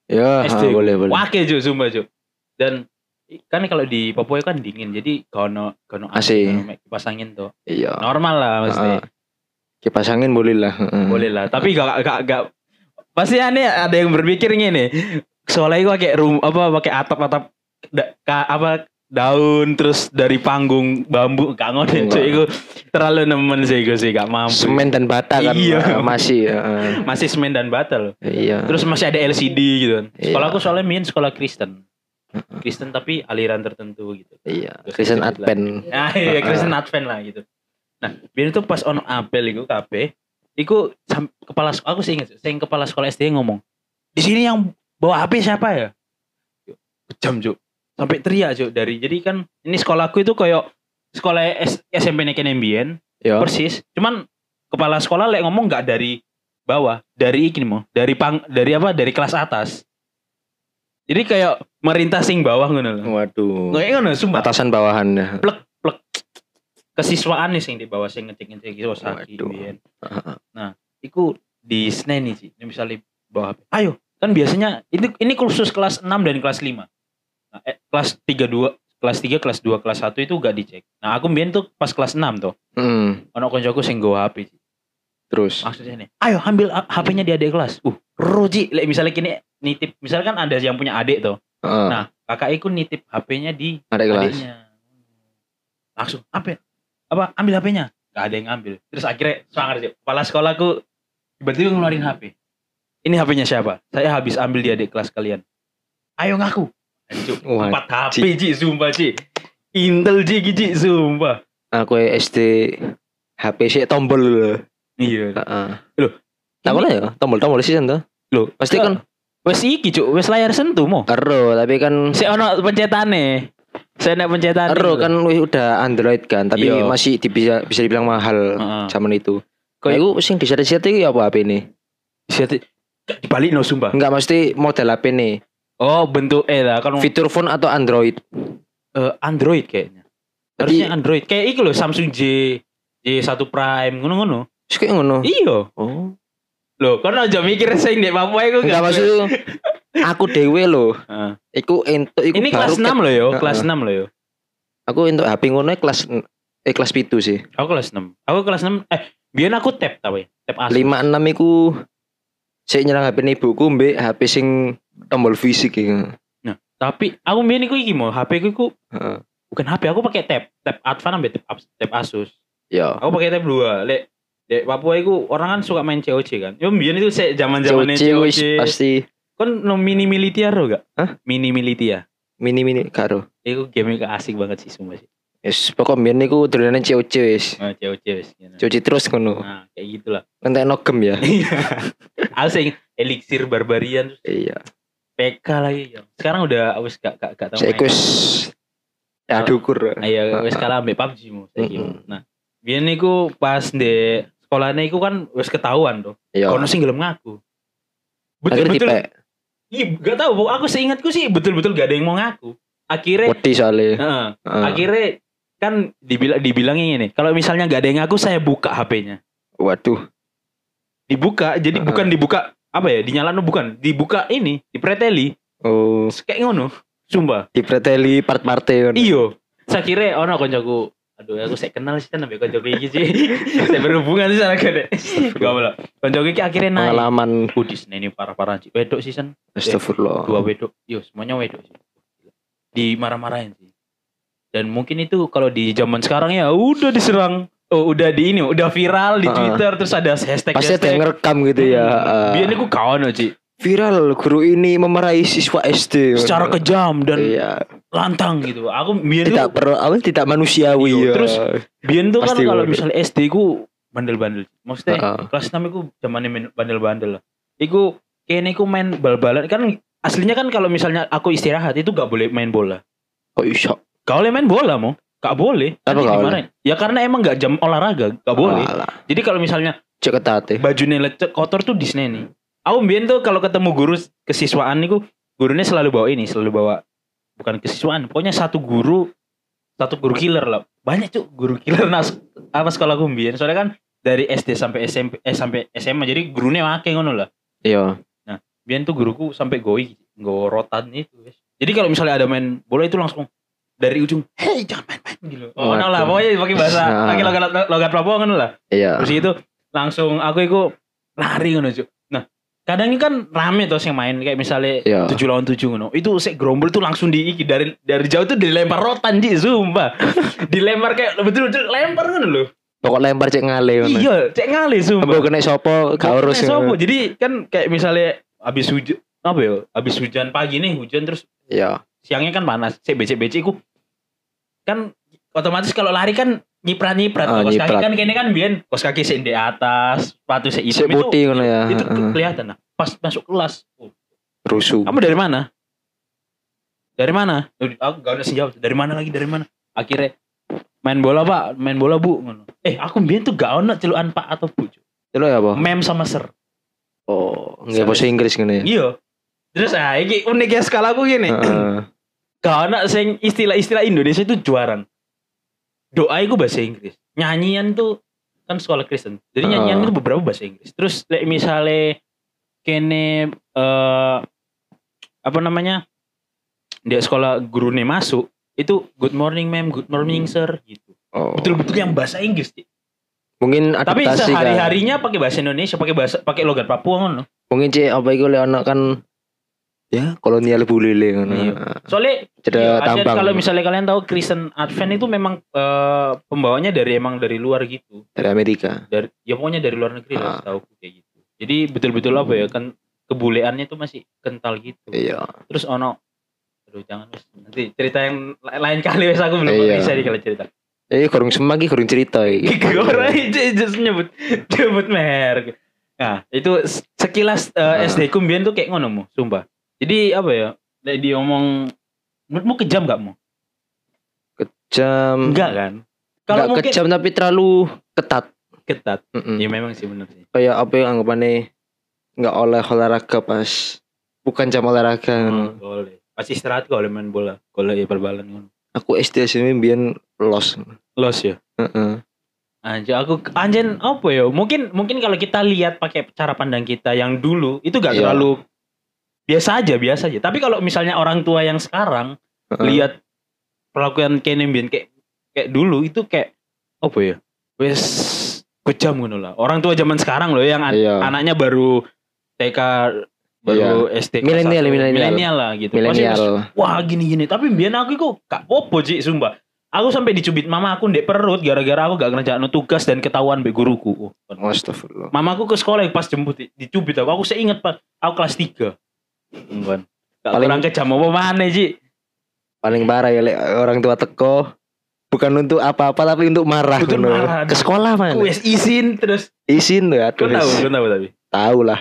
Speaker 1: Ya, ha,
Speaker 2: SD.
Speaker 1: boleh boleh.
Speaker 2: Wake, Cuk, sumpah, Cuk. Dan i- kan kalau di Papua kan dingin, jadi kono kono
Speaker 1: AC.
Speaker 2: kipas angin tuh.
Speaker 1: Iya.
Speaker 2: Normal lah maksudnya.
Speaker 1: Heeh. Kipas angin boleh lah. heeh.
Speaker 2: Oh, boleh lah tapi gak gak gak pasti aneh ada yang berpikir gini soalnya gue pakai room apa pakai atap atap da- ka- apa daun terus dari panggung bambu gak ngono
Speaker 1: Enggak.
Speaker 2: cuy itu terlalu nemen sih gue sih gak mampu
Speaker 1: Semen dan bata kan
Speaker 2: Iya.
Speaker 1: heeh, masih heeh.
Speaker 2: masih semen dan bata loh
Speaker 1: Iya.
Speaker 2: terus masih ada LCD gitu kan
Speaker 1: Iya.
Speaker 2: sekolah aku soalnya main sekolah Kristen Kristen tapi aliran tertentu gitu
Speaker 1: Iya,
Speaker 2: Terus
Speaker 1: Kristen
Speaker 2: dikit lah.
Speaker 1: Advent.
Speaker 2: Nah, iya
Speaker 1: Heeh.
Speaker 2: Kristen Advent lah gitu. Nah, biar itu pas ono apel iku kabeh, iku sam- kepala sek- aku sih inget, sing kepala sekolah SD ngomong, "Di sini yang bawa HP siapa ya?" Jam, Cuk. Sampai teriak, Cuk, dari. Jadi kan ini sekolahku itu kayak sekolah S- SMP Neken Ambien,
Speaker 1: Ya.
Speaker 2: persis. Cuman kepala sekolah lek ngomong nggak dari bawah, dari ini mau, dari pang, dari apa? Dari kelas atas. Jadi kayak merintah sing bawah ngono lho.
Speaker 1: Waduh.
Speaker 2: Kayak ngono, sumpah
Speaker 1: Atasan bawahannya.
Speaker 2: kesiswaan nih sing di bawah sing ngecek ngecek gitu Saki
Speaker 1: Waduh.
Speaker 2: biyen. Nah, iku di Senin sih. Ini misalnya bawah. HP. Ayo, kan biasanya ini ini kursus kelas 6 dan kelas 5. Nah, eh, kelas 3 2 kelas 3, kelas 2, kelas 1 itu gak dicek. Nah, aku mbien tuh pas kelas 6 tuh.
Speaker 1: Hmm,
Speaker 2: Ono koncoku sing nggawa HP.
Speaker 1: terus.
Speaker 2: Maksudnya nih, ayo ambil a- HP-nya di adik kelas. Uh, ruji. Lek misalnya kini nitip, misalkan ada yang punya adik tuh.
Speaker 1: Heeh.
Speaker 2: Nah, kakak iku nitip HP-nya di
Speaker 1: ada kelas.
Speaker 2: adiknya langsung apa ya? apa ambil HP-nya gak ada yang ngambil terus akhirnya sangar sih kepala sekolahku tiba-tiba ngeluarin HP ini HP-nya siapa saya habis ambil di adik kelas kalian ayo ngaku Anjuk,
Speaker 1: Wah,
Speaker 2: empat HP Ji sumpah Ji Intel Ji Ji sumpah
Speaker 1: Nah, Aku SD HP sih tombol lho.
Speaker 2: iya
Speaker 1: Heeh.
Speaker 2: Loh,
Speaker 1: Tak ngono ya, tombol-tombol sih contoh.
Speaker 2: lo
Speaker 1: Pasti kan
Speaker 2: wes iki cuk wes layar sentuh mo
Speaker 1: ero, tapi kan
Speaker 2: saya ono pencetane saya nek pencetane
Speaker 1: ero kan wih udah Android kan, tapi
Speaker 2: Iya.
Speaker 1: masih di- bisa bisa dibilang mahal
Speaker 2: Heeh. Iya.
Speaker 1: zaman itu. Kok
Speaker 2: Kok-
Speaker 1: nah, iku sing diseret-seret iki apa HP ini?
Speaker 2: Siate- dibalik no sumpah
Speaker 1: Enggak mesti model HP nih.
Speaker 2: oh bentuk eh lah kan
Speaker 1: Fitur phone atau Android?
Speaker 2: Eh, Android kayaknya.
Speaker 1: Tapi-
Speaker 2: Harusnya Android. Kayak iki loh Samsung J J1 Prime ngono-ngono.
Speaker 1: Hmm. Terus kayak ngono.
Speaker 2: Iya.
Speaker 1: Oh.
Speaker 2: Loh, kan aja mikir sing ndek Papua iku
Speaker 1: Enggak maksud aku dewe loh
Speaker 2: Heeh.
Speaker 1: iku entuk iku
Speaker 2: Ini kelas
Speaker 1: baru
Speaker 2: 6 loh yo,
Speaker 1: Heeh.
Speaker 2: kelas 6 loh yo.
Speaker 1: aku entuk HP ngono kelas eh kelas pitu sih
Speaker 2: Aku kelas 6. Aku kelas 6 eh biyen aku tap tau ya. Tap asli.
Speaker 1: lima enam iku saya nyerang HP ini ibuku mbek HP sing tombol fisik ya
Speaker 2: Tapi aku biyen iku iki mau, HP ku iku
Speaker 1: Heeh.
Speaker 2: bukan HP, aku pakai tap. Tap Advan ambil tap, Abs- tap Asus.
Speaker 1: ya
Speaker 2: Aku pakai tap 2. Lek Dek Papua itu orang kan suka main COC kan. Yo biyen itu sek zaman-zamannya
Speaker 1: COC wis
Speaker 2: COC.
Speaker 1: pasti
Speaker 2: Kon no mini militia ro gak?
Speaker 1: Hah?
Speaker 2: Mini militia.
Speaker 1: mini mini karo
Speaker 2: Iku game iku asik banget sih sumpah sih.
Speaker 1: yes pokok mbiyen niku dolanan COC wis
Speaker 2: Nah, COC wis. gitu.
Speaker 1: COC terus ngono
Speaker 2: Nah, kayak gitulah.
Speaker 1: entekno gem ya
Speaker 2: aku sing elixir barbarian terus
Speaker 1: iya
Speaker 2: PK lagi ya. Sekarang udah wis gak gak gak tahu.
Speaker 1: saya kus ya dukur
Speaker 2: Ayo iya, wis kalah ambek PUBG mu saiki.
Speaker 1: Mm-mm.
Speaker 2: Nah, biyen niku pas di sekolahnya iku kan wis ketahuan tuh.
Speaker 1: ya
Speaker 2: Kono sing gelem ngaku.
Speaker 1: akhirnya
Speaker 2: Betul-betul.
Speaker 1: tipe
Speaker 2: Iya, gak tahu. pokok Aku seingatku sih betul-betul gak ada yang mau ngaku. Akhirnya,
Speaker 1: wedi soalnya
Speaker 2: heeh,
Speaker 1: Heeh.
Speaker 2: akhirnya kan dibilang dibilangnya ini. Kalau misalnya gak ada yang ngaku, saya buka HP-nya.
Speaker 1: waduh
Speaker 2: Dibuka,
Speaker 1: Heeh.
Speaker 2: jadi bukan dibuka apa ya? Dinyalano bukan, dibuka ini, dipreteli.
Speaker 1: oh
Speaker 2: Terus Kayak ngono. Sumpah.
Speaker 1: dipreteli part-parte ngono.
Speaker 2: Iyo, Iya. saya kira ono koncoku. Aduh, aku saya kenal sih kan ambek koncoku iki sih. saya berhubungan sih sana gede. Gak boleh. Koncoku iki akhirnya naik.
Speaker 1: pengalaman
Speaker 2: Kudis ini parah-parah sih. Wedok season dua Oh.
Speaker 1: astagfirullah
Speaker 2: wedok. Yo, semuanya wedok sih. Dimarah-marahin sih. Dan mungkin itu kalau di zaman sekarang ya udah diserang. Oh, udah di ini, udah viral di
Speaker 1: Heeh.
Speaker 2: Twitter terus ada hashtag
Speaker 1: pasti ada yang ngerekam gitu ya heeh.
Speaker 2: Biar aku kawan aja
Speaker 1: viral guru ini memarahi siswa SD
Speaker 2: secara kejam dan
Speaker 1: iya
Speaker 2: lantang gitu. Aku biar
Speaker 1: tidak perlu apa tidak manusiawi
Speaker 2: Iya,
Speaker 1: ya.
Speaker 2: terus Biyen tuh kan
Speaker 1: Pasti
Speaker 2: kalau
Speaker 1: ngono.
Speaker 2: misalnya SD ku bandel-bandel. Maksudnya
Speaker 1: Heeh.
Speaker 2: kelas 6 iku zamane main bandel-bandel lah. Iku kene iku main bal-balan kan aslinya kan kalau misalnya aku istirahat itu gak boleh main bola.
Speaker 1: kok iso
Speaker 2: Gak boleh main bola mau. Gak boleh.
Speaker 1: Kenapa
Speaker 2: Nanti
Speaker 1: gak Ah.
Speaker 2: dimarahin. Ya karena emang gak jam olahraga, gak boleh.
Speaker 1: Alah,
Speaker 2: Jadi kalau misalnya
Speaker 1: cek e. ketate
Speaker 2: bajunya lecek kotor tuh Disney nih. Aku biyen tuh kalau ketemu guru kesiswaan niku gurunya selalu bawa ini, selalu bawa bukan kesiswaan, pokoknya satu guru satu guru killer lah. Banyak cuk guru killer nas apa sekolah aku mbiyen. Soalnya kan dari SD sampai SMP eh sampai SMA jadi gurunya make ngono lah.
Speaker 1: iya
Speaker 2: Biyen tuh guruku sampai goi nggo rotan itu guys. Jadi kalau misalnya ada main bola itu langsung dari ujung, "Hei, jangan main-main." gitu. Oh,
Speaker 1: Waduh.
Speaker 2: ngono lah, pokoknya pakai bahasa,
Speaker 1: Nah.
Speaker 2: pakai logat logat Papua ngono lah.
Speaker 1: iya
Speaker 2: Terus itu langsung aku itu lari ngono Cuk. Nah, kadang ini kan rame tuh yang main kayak misalnya
Speaker 1: Iya.
Speaker 2: tujuh lawan tujuh ngono. Itu sik gerombol tuh langsung diiki dari dari jauh tuh dilempar rotan Ji, sumpah. dilempar kayak betul-betul lempar ngono loh.
Speaker 1: pokok lempar cek ngale ngono
Speaker 2: Iya, cek ngali sumpah.
Speaker 1: Apa kena sopo gak
Speaker 2: Pokoknya
Speaker 1: urus ngono.
Speaker 2: sopo. Jadi kan kayak misalnya habis hujan apa ya? Habis hujan pagi nih hujan terus
Speaker 1: iya
Speaker 2: siangnya kan panas cek becek becek ku kan otomatis kalau lari kan nyiprat nyiprat
Speaker 1: Ah,
Speaker 2: kos kaki
Speaker 1: nyiprat.
Speaker 2: kan kayaknya kan biar kos kaki sing di atas sepatu sing
Speaker 1: cek
Speaker 2: hitam itu
Speaker 1: putih ngono ya
Speaker 2: itu ke-
Speaker 1: Heeh.
Speaker 2: kelihatan nah pas masuk kelas oh,
Speaker 1: rusuh
Speaker 2: kamu dari mana dari mana Loh, aku gak ada sejawab dari mana lagi dari mana akhirnya main bola pak main bola bu Ngono. eh aku biar tuh gak ono celuan pak atau bu Cuk.
Speaker 1: itu ya apa
Speaker 2: mem sama ser
Speaker 1: oh nggak bahasa Inggris ngono ya
Speaker 2: iya terus ah ini uniknya skala aku gini
Speaker 1: Heeh.
Speaker 2: gak ada sing istilah-istilah Indonesia itu juarang. Doa itu bahasa Inggris. Nyanyian tuh kan sekolah Kristen. Jadi
Speaker 1: Heeh.
Speaker 2: nyanyian itu beberapa bahasa Inggris. Terus like, misalnya kene eh apa namanya? Dia sekolah gurune masuk itu good morning ma'am, good morning sir gitu.
Speaker 1: oh
Speaker 2: Betul-betul yang bahasa Inggris. Ci.
Speaker 1: mungkin
Speaker 2: Tapi
Speaker 1: adaptasi kan
Speaker 2: sehari-harinya pakai bahasa Indonesia, pakai bahasa pakai logat Papua ngono.
Speaker 1: mungkin cek apa iku le ono kan ya kolonial bulele ngono
Speaker 2: Iya. Soalnya
Speaker 1: cedera
Speaker 2: Iya, ada-
Speaker 1: tambang
Speaker 2: Kalau misalnya kalian tahu Kristen Advent itu memang eh, pembawanya dari emang dari luar gitu.
Speaker 1: dari Amerika
Speaker 2: Dari ya pokoknya dari luar negeri lah
Speaker 1: Ah.
Speaker 2: tahu kayak gitu. Jadi betul-betul apa ya kan kebuleannya tuh masih kental gitu.
Speaker 1: iya
Speaker 2: Terus ono aduh jangan wes. nanti cerita yang la- lain kali wes aku belum
Speaker 1: Iya.
Speaker 2: bisa nih kalau cerita.
Speaker 1: Eh, kurung semak iki kurung cerita iki.
Speaker 2: Orang itu just nyebut nyebut merek. Nah, itu s- sekilas
Speaker 1: Ah.
Speaker 2: eh, SD ku mbiyen tuh kayak ngono mu, sumpah. Jadi apa ya? Lek diomong menurutmu kejam gak mu?
Speaker 1: Jam
Speaker 2: Enggak kan?
Speaker 1: kalau
Speaker 2: Kalau mungkin
Speaker 1: Hmm. kejam Hmm. tapi terlalu ketat.
Speaker 2: ketat.
Speaker 1: Mm-mm.
Speaker 2: Ya memang sih benar sih.
Speaker 1: Kayak apa yang anggapannya nggak oleh olahraga pas bukan jam olahraga.
Speaker 2: Oh, boleh. Pasti istirahat kalau main bola. Kalau ya perbalan ngono.
Speaker 1: Aku SD sini biyen los.
Speaker 2: Los ya.
Speaker 1: Heeh.
Speaker 2: Anjir aku
Speaker 1: Hmm.
Speaker 2: anjen apa ya? Mungkin mungkin kalau kita lihat pakai cara pandang kita yang dulu itu gak
Speaker 1: Iya.
Speaker 2: terlalu biasa aja biasa aja tapi kalau misalnya orang tua yang sekarang
Speaker 1: Heeh.
Speaker 2: lihat perlakuan Ken Mbien kayak kayak dulu itu kayak apa ya wes kejam ngono lah orang tua zaman sekarang loh yang an-
Speaker 1: Iya.
Speaker 2: anaknya baru TK baru SD kelas
Speaker 1: Milenial,
Speaker 2: satu.
Speaker 1: milenial.
Speaker 2: milenial lah gitu Pasti
Speaker 1: milenial.
Speaker 2: wah gini gini tapi biar aku kok gak popo sih sumpah aku sampai dicubit mama aku ndek perut gara-gara aku gak ngerjain tugas dan ketahuan be guruku oh.
Speaker 1: Astagfirullah.
Speaker 2: mamaku ke sekolah pas jemput di- dicubit aku aku seinget pas aku kelas 3 Bukan. Gak
Speaker 1: Hmm, Paling-
Speaker 2: kurang kejam apa mana sih
Speaker 1: Paling parah ya lek orang tua teko bukan untuk apa-apa tapi untuk marah
Speaker 2: Untuk
Speaker 1: ngono.
Speaker 2: marah.
Speaker 1: Ke sekolah man.
Speaker 2: wes izin terus
Speaker 1: Izin tuh
Speaker 2: kau
Speaker 1: aduh.
Speaker 2: tahu
Speaker 1: wis.
Speaker 2: kau tahu tapi
Speaker 1: Tahu lah.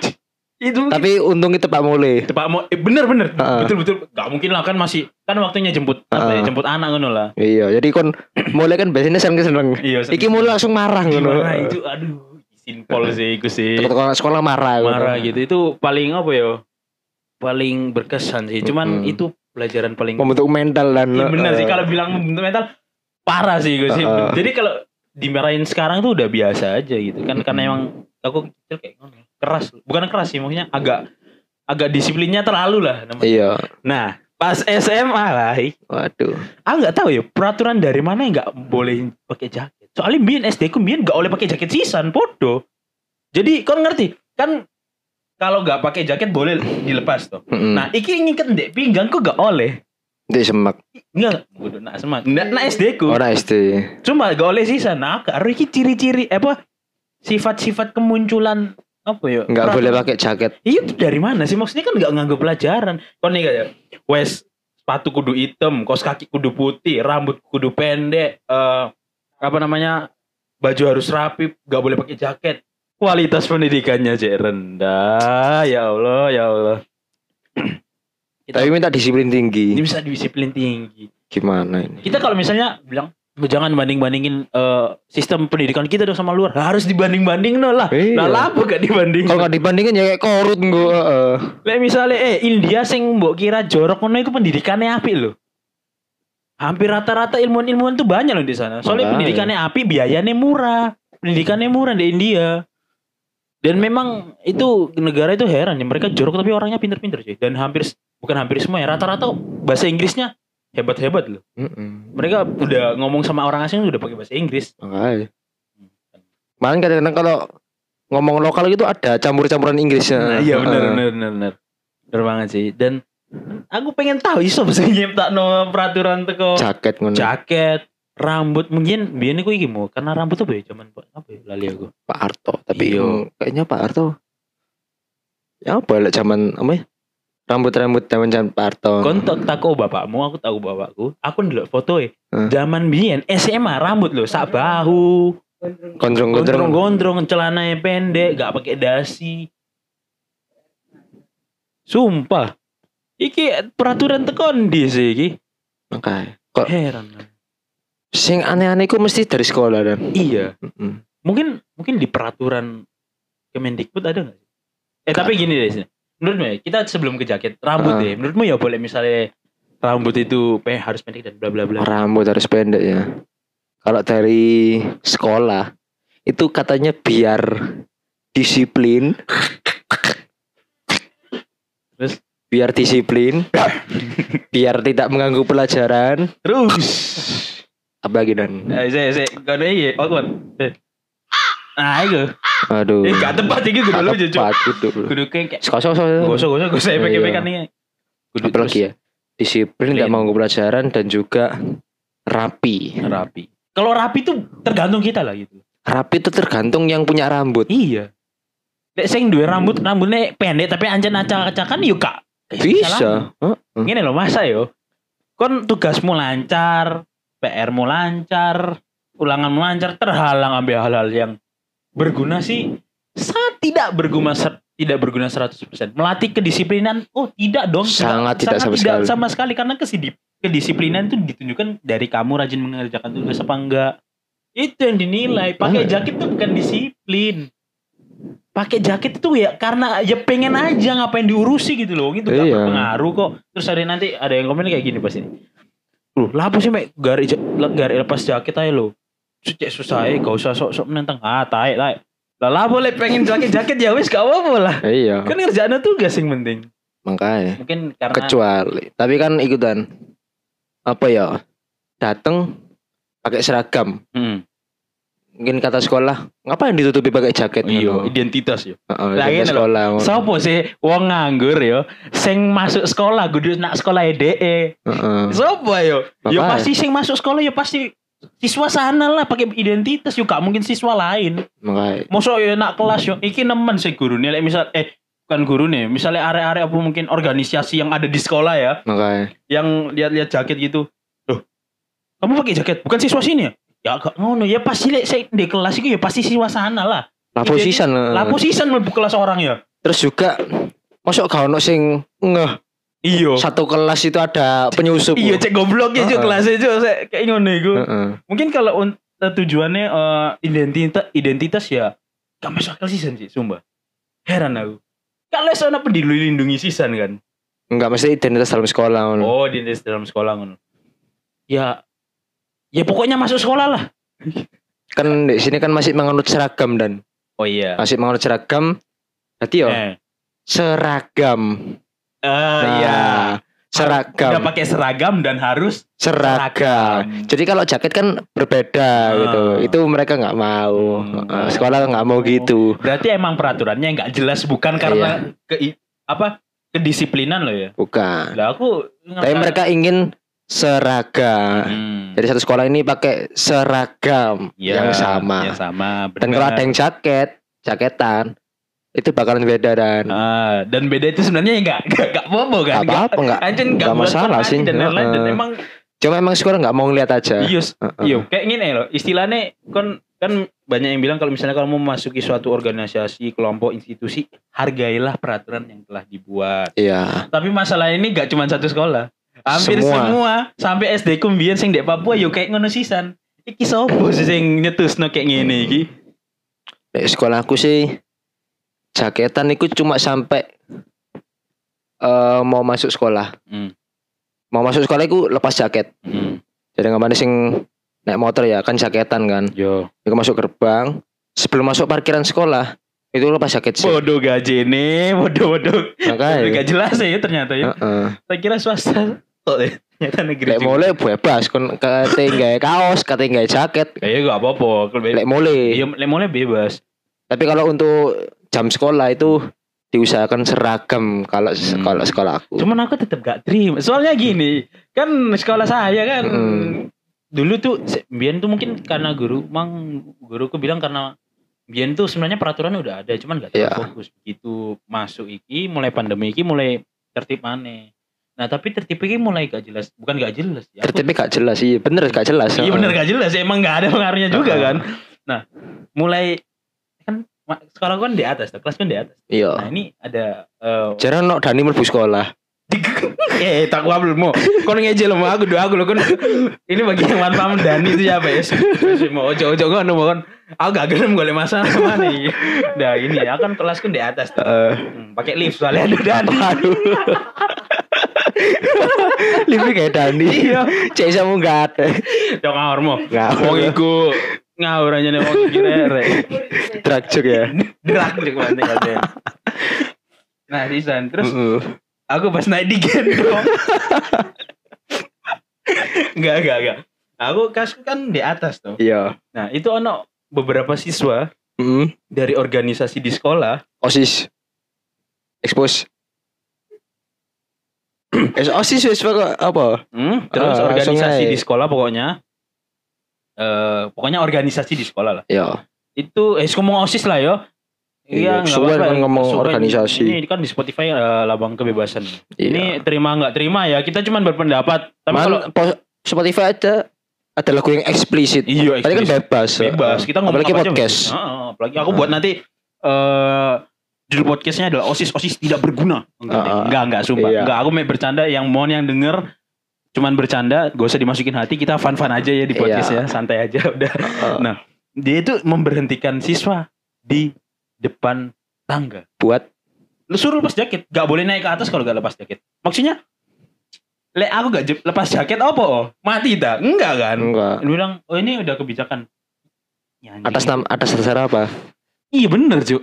Speaker 2: itu mungkin-
Speaker 1: Tapi Ah. untung itu Pak Mule.
Speaker 2: Pak mau eh, bener bener
Speaker 1: Heeh.
Speaker 2: betul betul gak mungkin lah kan masih kan waktunya jemput apa ya,
Speaker 1: Heeh.
Speaker 2: jemput anak ngono lah
Speaker 1: Iya, jadi kon Mule kan biasanya seneng-seneng.
Speaker 2: iya
Speaker 1: Iki Mule langsung marah ngono.
Speaker 2: gimana itu aduh izin pol sih iku sih
Speaker 1: Teko-teko anak sekolah marah ngono.
Speaker 2: marah gitu itu paling apa ya paling berkesan sih cuman
Speaker 1: Mm-mm.
Speaker 2: itu pelajaran paling
Speaker 1: Membentuk mental dan
Speaker 2: Iya benar sih
Speaker 1: eh,
Speaker 2: kalau bilang membentuk mental parah sih gue sih
Speaker 1: Heeh.
Speaker 2: jadi kalau dimarahin sekarang tuh udah biasa aja gitu kan karena emang aku kecil kayak ngono, keras bukan keras sih maksudnya agak agak disiplinnya terlalu lah namanya.
Speaker 1: Iya.
Speaker 2: nah pas SMA lah
Speaker 1: Waduh.
Speaker 2: aku nggak tahu ya peraturan dari mana yang nggak boleh pakai jaket soalnya mbien SD ku mbien nggak boleh pakai jaket sisan podo jadi kau ngerti kan kalau nggak pakai jaket boleh dilepas tuh
Speaker 1: Nah,
Speaker 2: nah iki ngiket ndek pinggang ku nggak oleh
Speaker 1: di semak
Speaker 2: nggak kudu nak semat nggak nak SD ku
Speaker 1: ora SD.
Speaker 2: cuma nggak oleh sisan nah karo iki ciri-ciri eh, apa sifat-sifat kemunculan apa ya
Speaker 1: Enggak boleh
Speaker 2: peraturan-
Speaker 1: pakai jaket.
Speaker 2: Iya itu dari mana sih maksudnya kan nggak nganggap pelajaran. Kau nih kayak wes sepatu kudu hitam, kaos kaki kudu putih, rambut kudu pendek, eh apa namanya baju harus rapi, nggak boleh pakai jaket. Kualitas pendidikannya cek rendah, ya Allah ya Allah. Kita-
Speaker 1: Tapi minta disiplin
Speaker 2: Ini
Speaker 1: tinggi.
Speaker 2: bisa disiplin tinggi.
Speaker 1: Gimana ini?
Speaker 2: Kita kalau misalnya bilang jangan banding bandingin sistem pendidikan kita dong sama luar harus dibanding bandingin lah.
Speaker 1: Iya.
Speaker 2: Lah lah apa gak dibanding?
Speaker 1: Kalau nggak dibandingin ya kayak korut
Speaker 2: Iya.
Speaker 1: gua. heeh.
Speaker 2: Lek misalnya eh India sing mbok kira jorok ngono iku pendidikannya apik lho. Hampir rata-rata ilmuwan-ilmuwan tuh banyak loh di sana. Soalnya
Speaker 1: Makanya.
Speaker 2: pendidikannya apik, biayanya murah. Pendidikannya murah di India. Dan memang itu negara itu heran ya mereka jorok tapi orangnya pinter-pinter sih. Dan hampir bukan hampir semua ya rata-rata bahasa Inggrisnya hebat-hebat loh.
Speaker 1: Mm-mm.
Speaker 2: Mereka udah ngomong sama orang asing udah pakai bahasa Inggris.
Speaker 1: Makanya. Malah kadang-kadang kalau ngomong lokal gitu ada campur-campuran Inggrisnya.
Speaker 2: Nah, iya benar
Speaker 1: Heeh.
Speaker 2: benar benar benar. Benar banget sih. Dan aku pengen tahu iso bisa nyiptakno peraturan teko
Speaker 1: Jaket ngono.
Speaker 2: jaket rambut mungkin biar aku iki mau karena rambut apa ya zaman apa ya lali aku
Speaker 1: Pak Arto. Tapi
Speaker 2: Iya.
Speaker 1: mm, kayaknya Pak Arto. Ya apa lek zaman apa ya? Rambut-rambut zaman zaman Pak Arto.
Speaker 2: kontak tahu bapakmu aku tahu bapakku aku ndelok foto e
Speaker 1: Hmm.
Speaker 2: zaman biyen SMA rambut loh sak bahu
Speaker 1: Gondrong-gondrong.
Speaker 2: gondrong-gondrong celana pendek gak pakai dasi sumpah iki peraturan tekondi sih iki
Speaker 1: Makanya. Kok
Speaker 2: heran
Speaker 1: sing aneh-aneh ku mesti dari sekolah dan.
Speaker 2: iya
Speaker 1: Mm-mm.
Speaker 2: mungkin mungkin di peraturan Kemendikbud ada nggak? sih? Eh tapi gini deh sini. Menurutmu ya, kita sebelum ke jaket rambut
Speaker 1: Ah.
Speaker 2: deh. Menurutmu ya boleh misalnya rambut itu pe harus pendek dan bla bla bla.
Speaker 1: Rambut harus pendek ya. Kalau dari sekolah itu katanya biar disiplin.
Speaker 2: Terus?
Speaker 1: biar disiplin, biar tidak mengganggu pelajaran.
Speaker 2: Terus.
Speaker 1: Apa lagi dan?
Speaker 2: Eh saya saya kau nih ya awkward. Eh. Nah itu.
Speaker 1: Aduh.
Speaker 2: Eh gak tepat Oh. ini kudu
Speaker 1: Gak
Speaker 2: lu jujur.
Speaker 1: tepat, gitu.
Speaker 2: Kudu kayak
Speaker 1: Sekosong sekosong.
Speaker 2: gosok gosok gosok saya
Speaker 1: Iya.
Speaker 2: pakai pakai nih. Kudu Iya.
Speaker 1: Apa lagi ya? Disiplin tidak
Speaker 2: Clean.
Speaker 1: mengganggu pelajaran dan juga rapi.
Speaker 2: terus rapi. Kalau rapi tuh tergantung kita lah gitu.
Speaker 1: Rapi itu tergantung yang punya rambut.
Speaker 2: Iya. Lek sing duwe rambut rambutnya pendek tapi ancen acak-acakan yuk kak.
Speaker 1: Bisa. Heeh.
Speaker 2: Gini loh masa yo. Kon tugasmu lancar, PR-mu lancar, ulanganmu lancar, terhalang ambil hal-hal yang berguna sih. Sangat tidak berguna ser- tidak berguna 100%. Melatih kedisiplinan, oh tidak dong.
Speaker 1: Sangat tidak sama sekali.
Speaker 2: sama sekali karena kesidip- kedisiplinan itu ditunjukkan dari kamu rajin mengerjakan tugas apa enggak. Itu yang dinilai. Pakai
Speaker 1: Banget.
Speaker 2: jaket itu bukan disiplin. Pakai jaket itu ya karena ya pengen aja ngapain diurusi gitu loh. Itu gak
Speaker 1: Iya.
Speaker 2: berpengaruh kok. Terus ada nanti ada yang komen kayak gini pas ini. Loh, lapo sih mek gari ja- le- gari lepas jaket aja lo. Cek susah ya, gak usah sok-sok menentang. Ah, taek taek. Lah lapo lek pengen jaket-jaket ya wis gak apa-apa lah.
Speaker 1: Iya.
Speaker 2: Kan ngerjain tugas yang penting.
Speaker 1: makanya
Speaker 2: Mungkin karena
Speaker 1: kecuali tapi kan ikutan apa ya dateng pakai seragam
Speaker 2: Mm.
Speaker 1: mungkin kata sekolah ngapain ditutupi pakai jaket
Speaker 2: iya,
Speaker 1: ngono?
Speaker 2: identitas yo.
Speaker 1: Heeh,
Speaker 2: Lah,
Speaker 1: jaket
Speaker 2: ngene lho.
Speaker 1: sekolah ngono.
Speaker 2: Sopo sih wong nganggur yo sing masuk sekolah kudu nak sekolah E DE.
Speaker 1: Heeh.
Speaker 2: Sopo ayo? Yo
Speaker 1: Makanya.
Speaker 2: pasti sing masuk sekolah yo pasti siswa sana lah pakai identitas yo gak mungkin siswa lain.
Speaker 1: makanya
Speaker 2: Mosok yo nak kelas yo iki nemen sih gurune lek misal eh bukan gurune, misalnya area-area apa mungkin organisasi yang ada di sekolah ya,
Speaker 1: makanya
Speaker 2: yang lihat-lihat jaket gitu. Loh, kamu pakai jaket? Bukan siswa sini ya? Ya gak ngono, ya pasti lek sik di kelas iku ya pasti siswa sana lah.
Speaker 1: lapo
Speaker 2: Jadi,
Speaker 1: sisan heeh.
Speaker 2: Lah posisan mlebu kelas orang ya?
Speaker 1: terus juga masuk gak ono sing ngeh
Speaker 2: Iya.
Speaker 1: satu kelas itu ada penyusup
Speaker 2: Iya cek goblok ya
Speaker 1: Heeh.
Speaker 2: cuk kelas itu kayak ngono iku.
Speaker 1: Heeh.
Speaker 2: Mungkin kalau un- eh, tujuannya identitas identitas ya gak masuk akal sisan sih sumpah. Heran aku. Kalau soalnya peduli lindungi sisan kan.
Speaker 1: Enggak mesti identitas dalam sekolah ngono.
Speaker 2: Oh, di di dalam sekolah ngono. Ya ya pokoknya masuk sekolah lah.
Speaker 1: Kan di sini kan masih menganut seragam dan
Speaker 2: Oh iya.
Speaker 1: masih menganut seragam. Berarti yo
Speaker 2: Eh.
Speaker 1: seragam.
Speaker 2: Ah,
Speaker 1: Nah,
Speaker 2: iya.
Speaker 1: Seragam.
Speaker 2: Udah pakai seragam dan harus eh,
Speaker 1: seragam. Jadi kalau jaket kan berbeda
Speaker 2: Ah.
Speaker 1: gitu. Itu mereka nggak mau.
Speaker 2: Hmm.
Speaker 1: Eh, Sekolah nggak mau
Speaker 2: Oh.
Speaker 1: gitu.
Speaker 2: Berarti emang peraturannya nggak jelas bukan karena
Speaker 1: Iya.
Speaker 2: ke apa kedisiplinan loh ya.
Speaker 1: Bukan.
Speaker 2: Lah aku
Speaker 1: Tapi
Speaker 2: ngerasa-
Speaker 1: mereka ingin seragam.
Speaker 2: Hmm.
Speaker 1: Jadi satu sekolah ini pakai seragam
Speaker 2: Ya,
Speaker 1: yang sama.
Speaker 2: Yang sama.
Speaker 1: Dan kalau
Speaker 2: benar.
Speaker 1: ada yang jaket, jaketan itu bakalan beda dan
Speaker 2: Ah, dan beda itu sebenarnya enggak enggak enggak bobo
Speaker 1: nggak
Speaker 2: kan.
Speaker 1: apa-apa nggak
Speaker 2: Anjing
Speaker 1: nggak
Speaker 2: enggak
Speaker 1: masalah sih.
Speaker 2: Dan lain-lain dan
Speaker 1: Heeh.
Speaker 2: emang
Speaker 1: Cuma emang sekolah nggak mau ngeliat aja.
Speaker 2: bius.
Speaker 1: Heeh.
Speaker 2: Iya, kayak gini loh. Istilahnya kan kan banyak yang bilang kalau misalnya kamu memasuki suatu organisasi, kelompok, institusi, hargailah peraturan yang telah dibuat.
Speaker 1: Iya.
Speaker 2: Tapi masalah ini gak cuma satu sekolah. Hampir
Speaker 1: Semua.
Speaker 2: semua, sampai SD ku mbiyen sing dek Papua yo kayak ngono sisan. Iki sopo sih sing nyetusno kayak ngene iki?
Speaker 1: Nek sekolah aku sih jaketan itu cuma sampai eh, mau masuk sekolah.
Speaker 2: Hmm.
Speaker 1: Mau masuk sekolah itu lepas jaket.
Speaker 2: Hmm.
Speaker 1: Jadi nggak sing naik motor ya kan jaketan kan.
Speaker 2: Yo.
Speaker 1: Itu masuk gerbang. Sebelum masuk parkiran sekolah itu lepas jaket sih.
Speaker 2: Bodoh gajene, bodoh-bodoh. Tapi
Speaker 1: Makanya.
Speaker 2: gak jelas ya ternyata ya.
Speaker 1: Heeh.
Speaker 2: Saya kira swasta tok ya. Ternyata negeri.
Speaker 1: Lek mulai bebas kon kate nggae kaos, kate nggae jaket.
Speaker 2: Kayaknya Ya, gak apa-apa. Kalau be-
Speaker 1: Lek mulai.
Speaker 2: Iya, lek mulai bebas.
Speaker 1: Tapi kalau untuk jam sekolah itu diusahakan seragam kalau
Speaker 2: Hmm.
Speaker 1: kalau sekolah aku.
Speaker 2: Cuman aku tetap gak terima. Soalnya gini, kan sekolah saya kan
Speaker 1: Mm.
Speaker 2: dulu tuh se- Bian tuh mungkin karena guru, mang guruku bilang karena Bian tuh sebenarnya peraturan udah ada, cuman gak terlalu
Speaker 1: Iya.
Speaker 2: fokus. Begitu masuk iki, mulai pandemi iki, mulai tertib aneh. Nah tapi tertib iki mulai gak jelas, bukan gak jelas. Ya, aku
Speaker 1: Tertibnya gak jelas iya bener gak jelas
Speaker 2: Iya bener gak jelas emang gak ada pengaruhnya juga
Speaker 1: Heeh.
Speaker 2: kan. Nah mulai kan ma- sekolah gua kan di atas, tuh, kelas kan di atas.
Speaker 1: iya
Speaker 2: Nah ini ada eh
Speaker 1: jarang no Dani mlebu sekolah
Speaker 2: eh tak gua belum mau. Kau ngejel sama aku doa aku loh kan. Ini bagi yang tanpa mendani itu siapa ya? Si mau ojo ojo kan mau kan. Aku gak gelem golek masalah mana ini. Nah ini aku kan kelas kan di atas. tuh. Hmm, pakai lift soalnya ada dani.
Speaker 1: aduh Livi kayak Dani
Speaker 2: Iya.
Speaker 1: cek sama gak ada
Speaker 2: Dong ngawur mau.
Speaker 1: Ngawur.
Speaker 2: Wong iku ngawur aja nih wong iki rek.
Speaker 1: drag joke ya
Speaker 2: Derak juga mantep katanya. Nah, Sisan, terus
Speaker 1: Heeh.
Speaker 2: aku pas naik di gendong. Enggak, enggak, enggak. Aku kasku kan di atas tuh.
Speaker 1: iya
Speaker 2: Nah, itu ono beberapa siswa
Speaker 1: Heeh.
Speaker 2: dari organisasi di sekolah.
Speaker 1: osis expose Eh, osis wis kok apa
Speaker 2: Hmm, terus
Speaker 1: Ah, langsung
Speaker 2: organisasi
Speaker 1: aja.
Speaker 2: di sekolah pokoknya. Eh, pokoknya organisasi di sekolah lah.
Speaker 1: iya
Speaker 2: Itu eh ngomong OSIS lah yo.
Speaker 1: Iya,
Speaker 2: nggak
Speaker 1: kesuwen
Speaker 2: apa-apa.
Speaker 1: kan ngomong
Speaker 2: Kesuwen.
Speaker 1: organisasi.
Speaker 2: Ini kan di Spotify eh, Labang Kebebasan.
Speaker 1: iya
Speaker 2: Ini terima nggak terima ya, kita cuman berpendapat. Tapi kalau
Speaker 1: Man, po- Spotify ada ada lagu yang eksplisit
Speaker 2: Iya,
Speaker 1: tadi kan
Speaker 2: eksplisit.
Speaker 1: bebas
Speaker 2: bebas. Kita ngomong
Speaker 1: apalagi
Speaker 2: apa aja,
Speaker 1: podcast
Speaker 2: Mas. Heeh, apalagi aku buat nanti eh judul podcastnya adalah osis osis tidak berguna. Enggak,
Speaker 1: Heeh.
Speaker 2: enggak, enggak sumpah.
Speaker 1: Iya.
Speaker 2: Enggak, aku main bercanda. Yang mohon yang denger cuman bercanda, gak usah dimasukin hati. Kita fun fun aja ya di podcast
Speaker 1: Iya.
Speaker 2: ya, santai aja udah.
Speaker 1: Heeh.
Speaker 2: Nah, dia itu memberhentikan siswa di depan tangga.
Speaker 1: buat
Speaker 2: Lu suruh lepas jaket, gak boleh naik ke atas kalau gak lepas jaket. Maksudnya, le aku gak je- lepas jaket apa? oh? Mati tak? Enggak kan?
Speaker 1: enggak
Speaker 2: Dia bilang, oh ini udah kebijakan. Ya, anjing.
Speaker 1: atas nama atas dasar apa
Speaker 2: Iya bener cuy.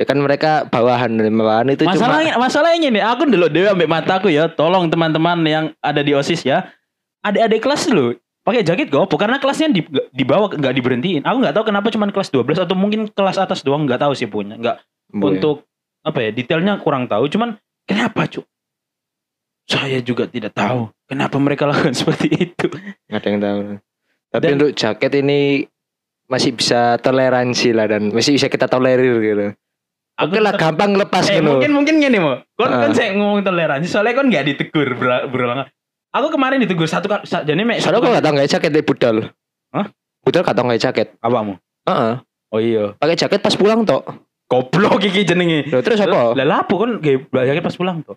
Speaker 1: Ya kan mereka bawahan dan bawahan itu
Speaker 2: masalahnya masalahnya nih aku dulu dewe ambek mataku ya tolong teman-teman yang ada di osis ya adik-adik kelas dulu pakai jaket gopo karena kelasnya di, di bawah nggak diberhentiin aku nggak tahu kenapa cuman kelas 12 atau mungkin kelas atas doang nggak tahu sih punya nggak
Speaker 1: cuma
Speaker 2: untuk apa ya detailnya kurang tahu cuman kenapa cuk saya juga tidak tahu kenapa mereka lakukan seperti itu
Speaker 1: nggak ada yang tahu. Tapi
Speaker 2: Dan-
Speaker 1: untuk jaket ini masih bisa toleransi lah dan masih bisa kita tolerir gitu.
Speaker 2: Aku
Speaker 1: Oke lah
Speaker 2: tetep-
Speaker 1: gampang lepas
Speaker 2: eh,
Speaker 1: gitu.
Speaker 2: mungkin mungkin gini mau kon kan
Speaker 1: Ah.
Speaker 2: saya ngomong toleransi soalnya kon nggak ditegur ber- berulang aku kemarin ditegur satu kali sa- jadi mek
Speaker 1: Soalnya
Speaker 2: satu
Speaker 1: aku
Speaker 2: kali
Speaker 1: nggak tahu nggak jaket deh budal.
Speaker 2: Hah?
Speaker 1: Budal nggak tahu nggak jaket.
Speaker 2: apamu
Speaker 1: Heeh.
Speaker 2: oh iya
Speaker 1: Pakai jaket pas pulang toh.
Speaker 2: goblok iki jenenge
Speaker 1: Loh, terus apa?
Speaker 2: lah kan lapo kon gak belajarnya pas pulang tuh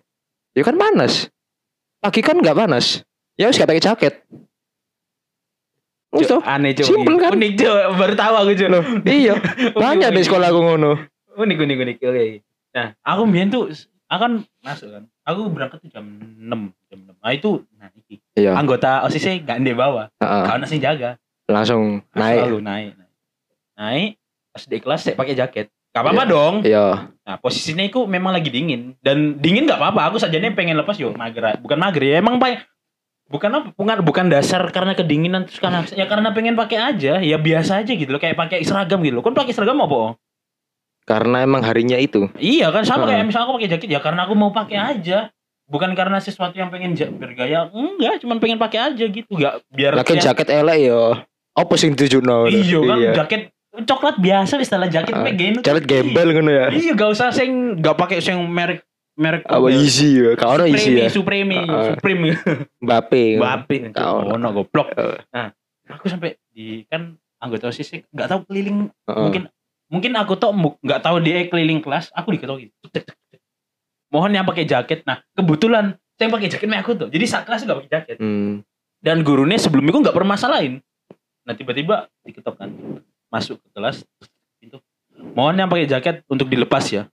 Speaker 1: Ya kan panas. Pagi kan nggak panas. Ya harus nggak pakai jaket. Wis
Speaker 2: Cuk,
Speaker 1: toh.
Speaker 2: aneh cuk Oh,
Speaker 1: Simpel kan?
Speaker 2: unik cuk baru tahu aku cuk
Speaker 1: Loh, iya.
Speaker 2: Unik,
Speaker 1: Banyak
Speaker 2: unik.
Speaker 1: di sekolah aku ngono.
Speaker 2: unik unik unik oke nah aku mbien tuh aku kan masuk kan aku berangkat tuh jam 6 jam 6 nah itu nah iki
Speaker 1: Iya.
Speaker 2: anggota osisnya gak ndek bawah
Speaker 1: heeh.
Speaker 2: gak ada sing jaga
Speaker 1: Langsung
Speaker 2: Aku
Speaker 1: naik.
Speaker 2: selalu naik naik, naik. pas di kelas saya pakai jaket gak apa-apa dong
Speaker 1: Iya.
Speaker 2: nah posisinya itu memang lagi dingin dan dingin gak apa-apa aku sajane pengen lepas yo mager bukan mager ya emang pak bukan apa bukan bukan dasar karena kedinginan terus karena ya karena pengen pakai aja ya biasa aja gitu loh kayak pakai seragam gitu loh kan pakai seragam apa oh?
Speaker 1: Karena emang harinya itu.
Speaker 2: Iya kan sama
Speaker 1: Heeh.
Speaker 2: kayak misalnya aku pakai jaket ya karena aku mau pakai aja. Bukan karena sesuatu yang pengen ja- bergaya, enggak, cuman pengen pakai aja gitu, enggak biar
Speaker 1: Lagi
Speaker 2: kelihatan-
Speaker 1: kan jaket elek ya. Apa sing ditujuno?
Speaker 2: Iya kan jaket coklat biasa wis setelah jaket
Speaker 1: Heeh.
Speaker 2: kayak gini.
Speaker 1: Ah, Jaket gembel ngono ya.
Speaker 2: Iya, gak usah sing gak pakai sing merek merek
Speaker 1: Apa easy ya? Kau orang easy
Speaker 2: Supreme,
Speaker 1: ya.
Speaker 2: Supreme,
Speaker 1: Heeh.
Speaker 2: Supreme.
Speaker 1: Mbappe.
Speaker 2: Babi
Speaker 1: Gak ono.
Speaker 2: ono goblok.
Speaker 1: Heeh.
Speaker 2: Nah, aku sampai di kan anggota OSIS enggak tahu keliling
Speaker 1: Heeh.
Speaker 2: mungkin mungkin aku tuh mu- nggak tahu dia keliling kelas aku diketahui mohon yang pakai jaket nah kebetulan saya pakai jaket mek aku tuh jadi saat kelas nggak pakai jaket
Speaker 1: Hmm.
Speaker 2: dan gurunya sebelum itu nggak permasalahin nah tiba-tiba diketok kan masuk ke kelas itu mohon yang pakai jaket untuk dilepas ya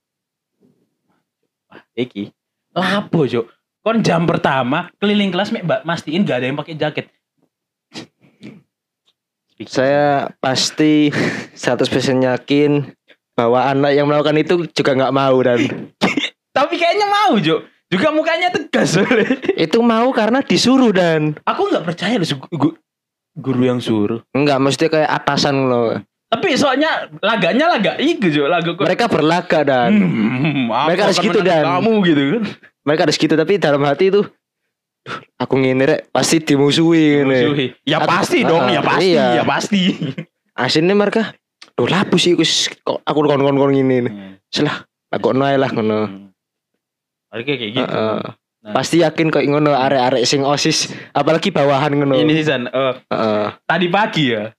Speaker 2: Wah, Iki lapo jo kon jam pertama keliling kelas mek mbak mastiin gak ada yang pakai jaket
Speaker 1: Saya pasti 100% yakin bahwa anak yang melakukan itu juga nggak mau dan
Speaker 2: tapi kayaknya mau jo juga mukanya tegas soalnya.
Speaker 1: itu mau karena disuruh dan
Speaker 2: aku nggak percaya loh su- gu- guru yang suruh
Speaker 1: nggak mesti kayak atasan loh.
Speaker 2: tapi soalnya laganya laga itu juga laga kok
Speaker 1: Mereka berlaga dan
Speaker 2: Hmm, aku
Speaker 1: Mereka harus
Speaker 2: akan
Speaker 1: gitu,
Speaker 2: menang
Speaker 1: Dan.
Speaker 2: kamu gitu kan
Speaker 1: mereka harus gitu tapi dalam hati itu "Duh, aku ngini rek pasti dimusuhi ini.
Speaker 2: Musuhi. ya
Speaker 1: Aku-
Speaker 2: pasti dong
Speaker 1: Iya.
Speaker 2: ya
Speaker 1: Ah,
Speaker 2: pasti
Speaker 1: iya.
Speaker 2: ya pasti
Speaker 1: Asinnya mereka Duh lapu sih kus, kok aku kon-kon ngini.
Speaker 2: Hmm.
Speaker 1: Selah aku noe lah ngono.
Speaker 2: oke kayak gitu
Speaker 1: Heeh.
Speaker 2: Nah.
Speaker 1: Pasti yakin kok ngono arek-arek sing osis apalagi bawahan ngono.
Speaker 2: ini sih San Eh,
Speaker 1: Heeh.
Speaker 2: tadi pagi ya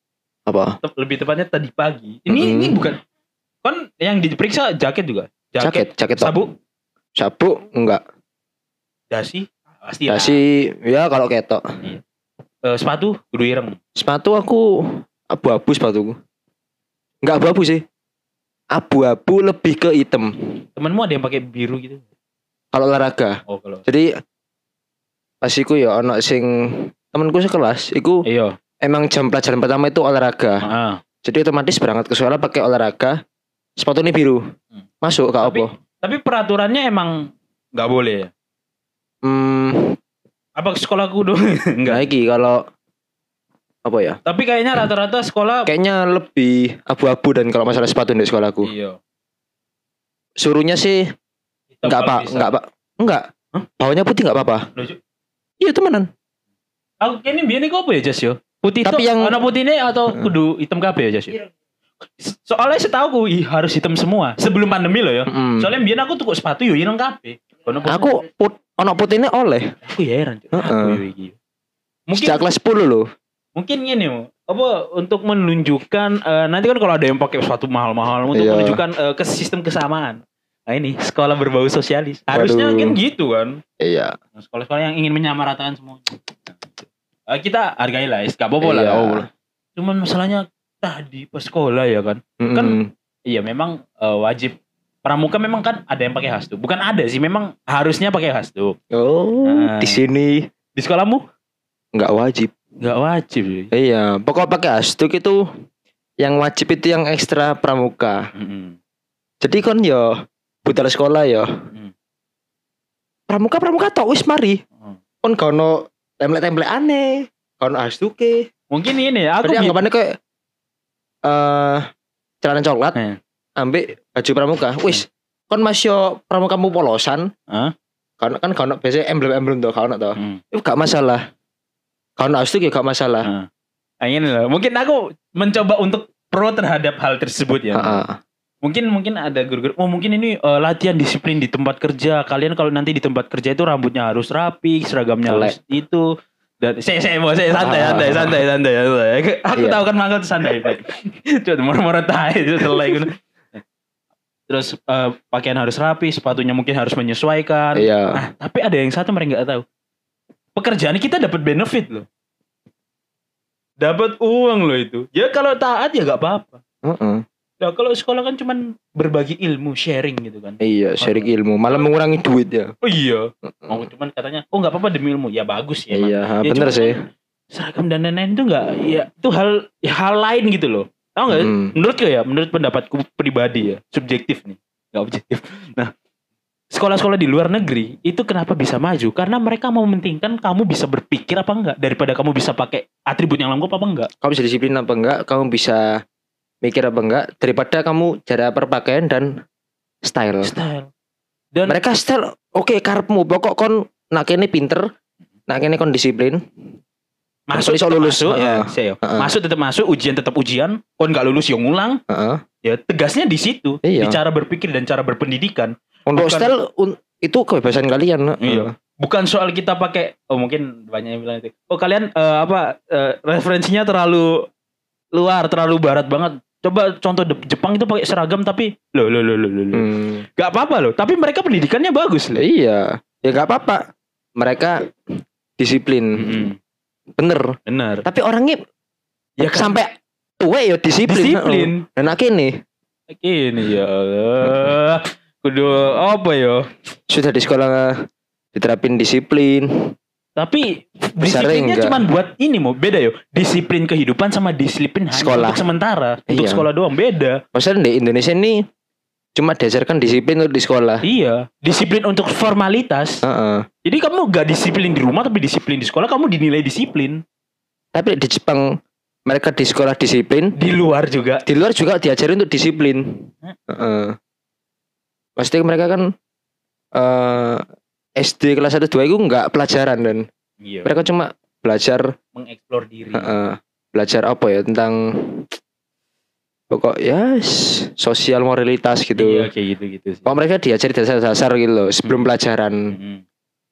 Speaker 1: apa?
Speaker 2: tep- lebih tepatnya tadi pagi ini
Speaker 1: Mm-mm.
Speaker 2: ini bukan kan yang diperiksa jaket juga jaket,
Speaker 1: Jaket, jaket tok.
Speaker 2: sabuk
Speaker 1: Sabuk enggak.
Speaker 2: dasi pasti lah.
Speaker 1: Dasi ya kalau ketok.
Speaker 2: Eh, sepatu kudu ireng
Speaker 1: Sepatu aku abu-abu sepatuku. Enggak abu-abu sih. Abu-abu lebih ke hitam
Speaker 2: temenmu ada yang pakai biru gitu
Speaker 1: kalau olahraga.
Speaker 2: oh kalau
Speaker 1: Jadi pas iku ya ono sing temanku sekelas iku
Speaker 2: iya
Speaker 1: emang jam pelajaran pertama itu olahraga.
Speaker 2: ah.
Speaker 1: Jadi otomatis berangkat ke sekolah pakai olahraga. Sepatu ini biru.
Speaker 2: Hmm.
Speaker 1: Masuk kak
Speaker 2: Tapi-
Speaker 1: opo.
Speaker 2: Tapi peraturannya emang nggak boleh ya?
Speaker 1: Hmm,
Speaker 2: Apa sekolahku dong?
Speaker 1: enggak
Speaker 2: Enggak.
Speaker 1: iki kalau apa ya?
Speaker 2: Tapi kayaknya rata-rata sekolah
Speaker 1: Kayaknya lebih abu-abu dan kalau masalah sepatu di sekolahku.
Speaker 2: Iya.
Speaker 1: suruhnya sih
Speaker 2: Hitam
Speaker 1: nggak
Speaker 2: kalau
Speaker 1: pak
Speaker 2: bisa.
Speaker 1: nggak pak nggak
Speaker 2: Hah?
Speaker 1: bawahnya putih nggak apa-apa
Speaker 2: Loh, Cuk.
Speaker 1: iya temenan
Speaker 2: Aku kayaknya biar kok apa ya Jas yo? Putih
Speaker 1: Tapi
Speaker 2: Tapi
Speaker 1: yang-
Speaker 2: yang warna putihnya atau kudu hitam kabeh ya Jas yo? Soalnya setahu aku ih, harus hitam semua sebelum pandemi loh ya.
Speaker 1: Mm-mm.
Speaker 2: Soalnya biar aku tuku sepatu yo ireng kabeh. Kono putih-
Speaker 1: Hmm. aku put ono putihnya oleh
Speaker 2: aku ya heran. Cuk.
Speaker 1: Heeh.
Speaker 2: Aku yo iki. Mungkin
Speaker 1: sejak kelas 10 loh
Speaker 2: mungkin ini Mo. apa untuk menunjukkan eh, nanti kan kalau ada yang pakai sepatu mahal-mahal untuk
Speaker 1: Iya.
Speaker 2: menunjukkan eh, ke sistem kesamaan nah ini sekolah berbau sosialis harusnya
Speaker 1: Waduh.
Speaker 2: kan gitu kan
Speaker 1: iya
Speaker 2: Nah, sekolah-sekolah yang ingin menyamaratakan semua Eh, kita hargai lah gak apa-apa lah
Speaker 1: Iya.
Speaker 2: gak apa-apa. cuman masalahnya tadi pas sekolah ya kan Kan,
Speaker 1: Mm-mm.
Speaker 2: iya memang eh, wajib pramuka memang kan ada yang pakai hasdu bukan ada sih memang harusnya pakai hasdu
Speaker 1: oh
Speaker 2: Nah.
Speaker 1: di sini
Speaker 2: di sekolahmu
Speaker 1: nggak wajib
Speaker 2: nggak wajib sih
Speaker 1: iya pokok pakai astuk itu yang wajib itu yang ekstra pramuka Jadi kon yo buta sekolah ya. yo.
Speaker 2: Hmm.
Speaker 1: Pramuka pramuka tok wis mari.
Speaker 2: Hmm.
Speaker 1: Kon gak ono template-template aneh. Kon astuke.
Speaker 2: Mungkin ini aku
Speaker 1: Berarti
Speaker 2: bi-
Speaker 1: anggapannya kayak eh celana coklat
Speaker 2: Eh.
Speaker 1: ambek baju pramuka. Wis kon mas yo pramukamu polosan.
Speaker 2: Hah?
Speaker 1: Kan kan gak ono biasanya emblem-emblem tuh gak ono tuh.
Speaker 2: Hmm.
Speaker 1: Itu gak masalah. Gak ono astuke gak masalah.
Speaker 2: Ah, ini loh. Mungkin aku mencoba untuk pro terhadap hal tersebut ya.
Speaker 1: Heeh.
Speaker 2: Mungkin mungkin ada guru-guru. Oh mungkin ini eh, latihan disiplin di tempat kerja. Kalian kalau nanti di tempat kerja itu rambutnya harus rapi, seragamnya harus itu. Dan saya saya mau saya santai
Speaker 1: Ah.
Speaker 2: santai santai santai. santai. Aku- Aku
Speaker 1: Iya.
Speaker 2: tahu kan mangkat santai. Pak. Cuma moro-moro tai itu selai gitu. Terus eh, pakaian harus rapi, sepatunya mungkin harus menyesuaikan.
Speaker 1: Iya.
Speaker 2: Nah, tapi ada yang satu mereka nggak tahu. Pekerjaan kita dapat benefit loh. Dapat uang loh itu. Ya kalau taat ya nggak apa-apa.
Speaker 1: Heeh.
Speaker 2: Nah, kalau sekolah kan cuman berbagi ilmu, sharing gitu kan.
Speaker 1: Iya, sharing ilmu, malah mengurangi duit ya.
Speaker 2: Oh iya. Mau cuman katanya, oh nggak apa-apa demi ilmu. Ya bagus ya. Mak.
Speaker 1: iya, ha,
Speaker 2: Ya,
Speaker 1: bener
Speaker 2: cuman
Speaker 1: sih.
Speaker 2: Seragam dan lain-lain itu nggak, ya itu hal hal lain gitu loh. Tahu nggak?
Speaker 1: Mm.
Speaker 2: menurutku ya, menurut pendapatku pribadi ya, subjektif nih, nggak objektif. Nah, sekolah-sekolah di luar negeri itu kenapa bisa maju? Karena mereka mau mementingkan kamu bisa berpikir apa enggak daripada kamu bisa pakai atribut yang lengkap apa enggak.
Speaker 1: Kamu bisa disiplin apa enggak? Kamu bisa mikir apa enggak? Daripada kamu cara berpakaian dan style.
Speaker 2: Style. Dan
Speaker 1: Iya. Mereka style, oke karepmu pokok kon nak kene pinter, nak kene kon disiplin.
Speaker 2: masuk
Speaker 1: iso
Speaker 2: tetap
Speaker 1: lulus,
Speaker 2: masuk, ya,
Speaker 1: heeh.
Speaker 2: saya,
Speaker 1: Heeh.
Speaker 2: masuk tetap masuk, ujian tetap ujian, kon nggak lulus yang ngulang,
Speaker 1: Heeh.
Speaker 2: ya tegasnya di situ,
Speaker 1: Iya.
Speaker 2: di cara berpikir dan cara berpendidikan.
Speaker 1: Untuk
Speaker 2: Bukan-
Speaker 1: style un- itu kebebasan kalian. heeh.
Speaker 2: Iya. bukan soal kita pakai oh mungkin banyak yang bilang itu oh kalian eh, apa eh, referensinya terlalu luar terlalu barat banget coba contoh De- Jepang itu pakai seragam tapi lo lo lo lo lo lo.
Speaker 1: Hmm.
Speaker 2: gak apa apa loh tapi mereka pendidikannya bagus loh
Speaker 1: Iya. Ya enggak apa-apa. Mereka disiplin.
Speaker 2: Hmm.
Speaker 1: Bener.
Speaker 2: benar
Speaker 1: Tapi orangnya
Speaker 2: ya kan
Speaker 1: sampai tua ya disiplin.
Speaker 2: disiplin
Speaker 1: heeh. Dan nak kene
Speaker 2: ini ya Allah kudu apa ya
Speaker 1: sudah di sekolah diterapin disiplin
Speaker 2: tapi
Speaker 1: Besarnya
Speaker 2: disiplinnya
Speaker 1: enggak.
Speaker 2: cuma buat ini mau beda yo disiplin kehidupan sama disiplin hanya
Speaker 1: Sekolah.
Speaker 2: untuk sementara untuk
Speaker 1: Iya.
Speaker 2: sekolah doang beda
Speaker 1: maksudnya di Indonesia ini cuma diajarkan disiplin untuk di sekolah
Speaker 2: Iya, disiplin untuk formalitas.
Speaker 1: Heeh.
Speaker 2: Jadi kamu gak disiplin di rumah tapi disiplin di sekolah, kamu dinilai disiplin.
Speaker 1: tapi di Jepang mereka di sekolah disiplin
Speaker 2: Di luar juga.
Speaker 1: di luar juga diajarin untuk disiplin Heeh. Maksudnya mereka kan eh, SD kelas 1 2 itu nggak pelajaran dan
Speaker 2: Iya.
Speaker 1: mereka cuma belajar
Speaker 2: Mengeksplor diri.
Speaker 1: heeh, belajar apa ya tentang pokok ya s- sosial moralitas
Speaker 2: Iya,
Speaker 1: gitu
Speaker 2: kayak gitu-gitu sih.
Speaker 1: Kok mereka diajari dasar-dasar gitu loh sebelum pelajaran
Speaker 2: Mm-mm.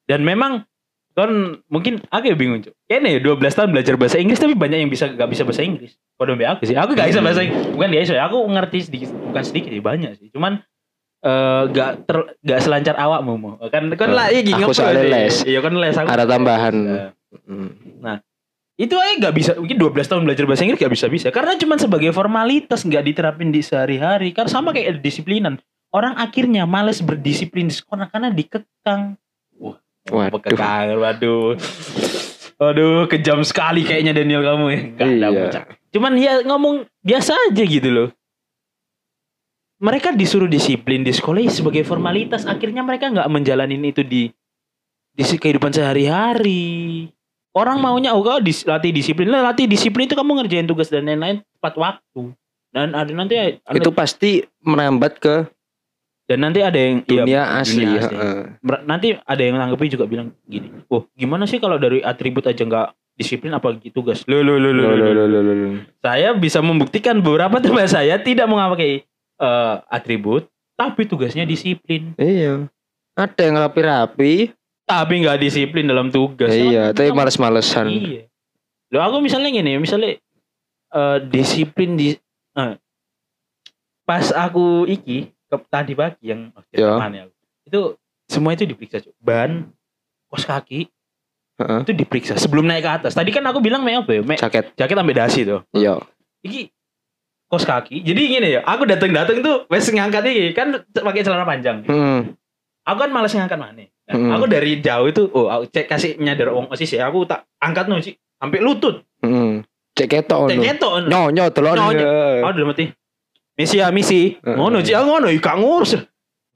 Speaker 2: Dan memang kan mungkin aku ya bingung cuy. Kayaknya ya 12 tahun belajar bahasa Inggris tapi banyak yang bisa gak bisa bahasa Inggris. Pada mbak aku sih, aku gak bisa bahasa Inggris. Bukan gak bisa, ya. aku ngerti sedikit, bukan sedikit ya banyak sih. Cuman eh gak ter, gak selancar awakmu mau. Kan kan
Speaker 1: Eh,
Speaker 2: lah iki
Speaker 1: aku
Speaker 2: ngepel
Speaker 1: soalnya
Speaker 2: sih.
Speaker 1: les.
Speaker 2: Iya kan les aku.
Speaker 1: Ada tambahan.
Speaker 2: Eh,
Speaker 1: Hmm.
Speaker 2: itu aja nggak bisa mungkin 12 tahun belajar bahasa Inggris nggak bisa bisa karena cuma sebagai formalitas nggak diterapin di sehari-hari karena sama kayak disiplinan orang akhirnya males berdisiplin di sekolah karena dikekang wah
Speaker 1: Waduh.
Speaker 2: kekang waduh Aduh, kejam sekali kayaknya Daniel kamu ya. Nggak ada
Speaker 1: Iya.
Speaker 2: bocah. Cuman ya ngomong biasa aja gitu loh. Mereka disuruh disiplin di sekolah ya sebagai formalitas. Akhirnya mereka nggak menjalanin itu di di se- kehidupan sehari-hari.
Speaker 1: Hmm.
Speaker 2: Orang maunya oh kau dis, latih disiplin. Lah latih disiplin itu kamu ngerjain tugas dan lain-lain tepat waktu. Dan ada nanti
Speaker 1: Hmm. itu pasti merambat ke
Speaker 2: dan nanti ada yang iya,
Speaker 1: dunia asli.
Speaker 2: dunia asli.
Speaker 1: heeh.
Speaker 2: Ber- nanti ada yang nanggepi juga bilang gini, "Wah, gimana sih kalau dari atribut aja nggak disiplin apalagi tugas?" Lo lo lo lo lo, lo, lo. Saya bisa membuktikan beberapa teman saya tidak memakai eh, atribut, tapi tugasnya disiplin.
Speaker 1: Iya. Ada yang rapi-rapi.
Speaker 2: Tapi nggak disiplin dalam tugas.
Speaker 1: Iya, tapi
Speaker 2: Kamu-
Speaker 1: males-malesan.
Speaker 2: Iya. Loh, aku misalnya gini, misalnya eh, disiplin di eh, pas aku iki ke, tadi pagi yang oh,
Speaker 1: Ya.
Speaker 2: mana ya aku. Itu semua itu diperiksa, Cuk. Ban, kos kaki,
Speaker 1: Heeh.
Speaker 2: itu diperiksa sebelum naik ke atas. Tadi kan aku bilang mek apa ya? Mek
Speaker 1: Jaket.
Speaker 2: jaket sampai dasi tuh.
Speaker 1: Iya.
Speaker 2: Iki kos kaki. Jadi gini ya, aku datang-datang tuh wes ngangkat iki kan pakai celana panjang.
Speaker 1: Hmm.
Speaker 2: Aku kan males ngangkat mana. Nah,
Speaker 1: Hmm.
Speaker 2: Aku dari jauh itu, oh aku cek kasih nyadar wong osis ya, aku tak angkat no sih sampai lutut.
Speaker 1: Hmm. Cek ketok
Speaker 2: Cek
Speaker 1: ngono.
Speaker 2: ketok. no.
Speaker 1: Nyonyo Iya. delok.
Speaker 2: Nyonyo. Aku udah mati. misi ya misi
Speaker 1: Heeh.
Speaker 2: ngono sih ngono ya gak ngurus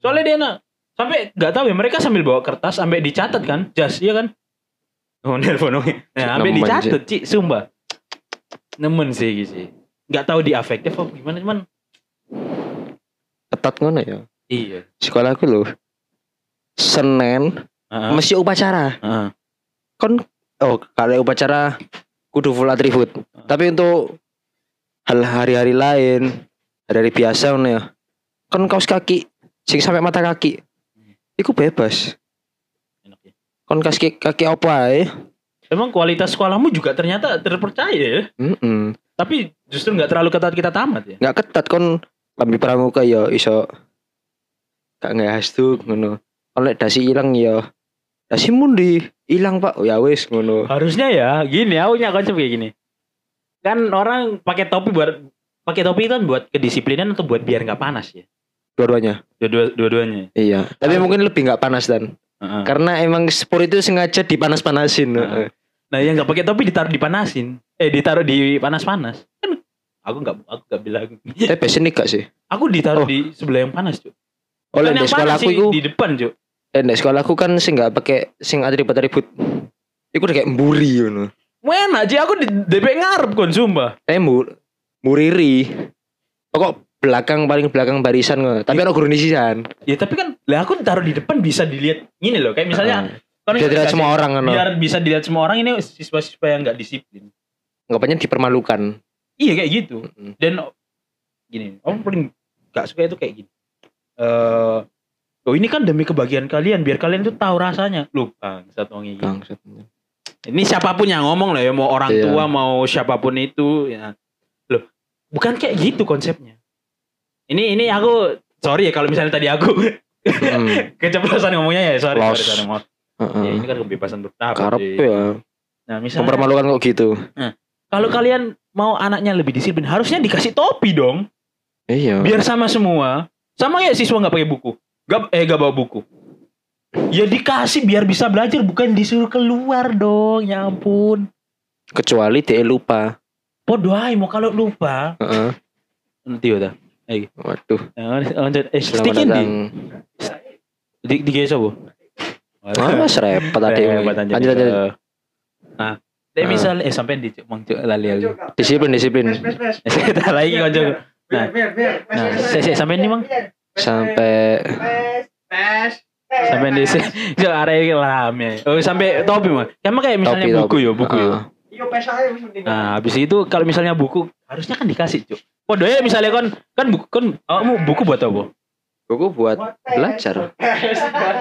Speaker 2: soalnya dia nak sampai nggak tahu ya mereka sambil bawa kertas sampai dicatat kan jas iya kan oh nelfon oke nah sampai
Speaker 1: Nemen,
Speaker 2: dicatat sih sumpah nemen sih gitu sih nggak tahu di afektif apa gimana cuman
Speaker 1: ketat ngono ya
Speaker 2: iya
Speaker 1: sekolahku loh Senin
Speaker 2: Heeh.
Speaker 1: mesti upacara
Speaker 2: Heeh.
Speaker 1: oh kalau upacara kudu full atribut tapi untuk hal hari-hari lain hari-hari biasa ngono ya kan kaos kaki sing sampai mata kaki iku bebas
Speaker 2: Enak ya.
Speaker 1: kon kaki kaki apa ae
Speaker 2: emang kualitas sekolahmu juga ternyata terpercaya ya
Speaker 1: Mm-mm.
Speaker 2: tapi justru nggak terlalu ketat kita tamat ya
Speaker 1: nggak ketat kon lambi pramuka ya iso gak nggak hasduk ngono oleh dasi hilang ya dasi mundi hilang pak ya wis ngono
Speaker 2: Harusnya ya, gini aku punya konsep kayak gini. Kan orang pakai topi buat pakai topi itu kan buat kedisiplinan atau buat biar nggak panas ya.
Speaker 1: dua-duanya Kan-
Speaker 2: Dua-dua- Dua-duanya.
Speaker 1: iya tapi mungkin lebih nggak panas dan
Speaker 2: Heeh.
Speaker 1: karena emang sport itu sengaja dipanas-panasin
Speaker 2: Heeh.
Speaker 1: heeh.
Speaker 2: Nah yang nggak pakai topi ditaruh dipanasin, eh ditaruh di panas-panas. Kan aku nggak aku nggak bilang.
Speaker 1: eh biasanya gak sih
Speaker 2: aku ditaruh
Speaker 1: Oh.
Speaker 2: di sebelah yang panas cuy.
Speaker 1: oleh di
Speaker 2: Bukan Kan yang panas
Speaker 1: sekolahku
Speaker 2: sih,
Speaker 1: itu
Speaker 2: di depan cuy.
Speaker 1: eh di sekolahku kan sing nggak pakai sing atribut-atribut itu udah kayak mburi ngono
Speaker 2: Wena aja aku di DP ngarep kon sumpah.
Speaker 1: eh mu muriri pokok belakang paling belakang barisan ngono tapi
Speaker 2: Iya.
Speaker 1: ada guru nisisan
Speaker 2: Ya tapi kan lah aku ditaruh di depan bisa dilihat gini loh kayak misalnya kan
Speaker 1: Bisa dilihat Nah, semua orang, kan, no?
Speaker 2: biar bisa dilihat semua orang ini siswa-siswa yang nggak disiplin
Speaker 1: anggapannya dipermalukan
Speaker 2: Iya kayak gitu.
Speaker 1: Mm-mm.
Speaker 2: Dan oh, gini, orang paling gak suka itu kayak gini. Eh, oh ini kan demi kebahagiaan kalian, biar kalian tuh tahu rasanya. Lu bangsat wong iki.
Speaker 1: Bangsat.
Speaker 2: Ini siapapun yang ngomong lah ya, mau orang
Speaker 1: Iya.
Speaker 2: tua, mau siapapun itu ya. Loh, bukan kayak gitu konsepnya. Ini ini aku sorry ya kalau misalnya tadi aku
Speaker 1: Hmm.
Speaker 2: keceplosan ngomongnya ya, sorry, sorry,
Speaker 1: Los.
Speaker 2: sorry, maaf. Ya, ini kan kebebasan berpendapat.
Speaker 1: Karep
Speaker 2: sih.
Speaker 1: ya,
Speaker 2: Nah, Iya. misalnya
Speaker 1: mempermalukan kok gitu.
Speaker 2: kalau kalian mau anaknya lebih disiplin, harusnya dikasih topi dong.
Speaker 1: Iya.
Speaker 2: biar sama semua sama ya siswa nggak pakai buku gak eh gak bawa buku ya dikasih biar bisa belajar bukan disuruh keluar dong ya ampun
Speaker 1: Kecuali dia lupa.
Speaker 2: podo ae mau kalau lupa
Speaker 1: Heeh.
Speaker 2: nanti ya dah
Speaker 1: Waduh.
Speaker 2: eh
Speaker 1: Selamat
Speaker 2: stikin di
Speaker 1: datang.
Speaker 2: di di geso bu
Speaker 1: Wah, mas repot tadi. Lanjut lanjut.
Speaker 2: Eh, nah deh
Speaker 1: Ah.
Speaker 2: misal eh sampai di mang Cuk, lali lali
Speaker 1: Disiplin disiplin.
Speaker 2: Eh, kita lagi konco iya. Nah. nah saya saya sampai ini mang
Speaker 1: Sampai
Speaker 2: sampai di sini Cuk, arah ini lah ya. oh sampai topi mang sama kayak misalnya
Speaker 1: Topi,
Speaker 2: buku
Speaker 1: topi. Ah.
Speaker 2: ya buku ya
Speaker 1: Heeh.
Speaker 2: Nah, habis itu kalau misalnya buku harusnya kan dikasih, Cuk. Podo ya misalnya kan kan buku kan awakmu buku buat apa?
Speaker 1: Buku buat belajar.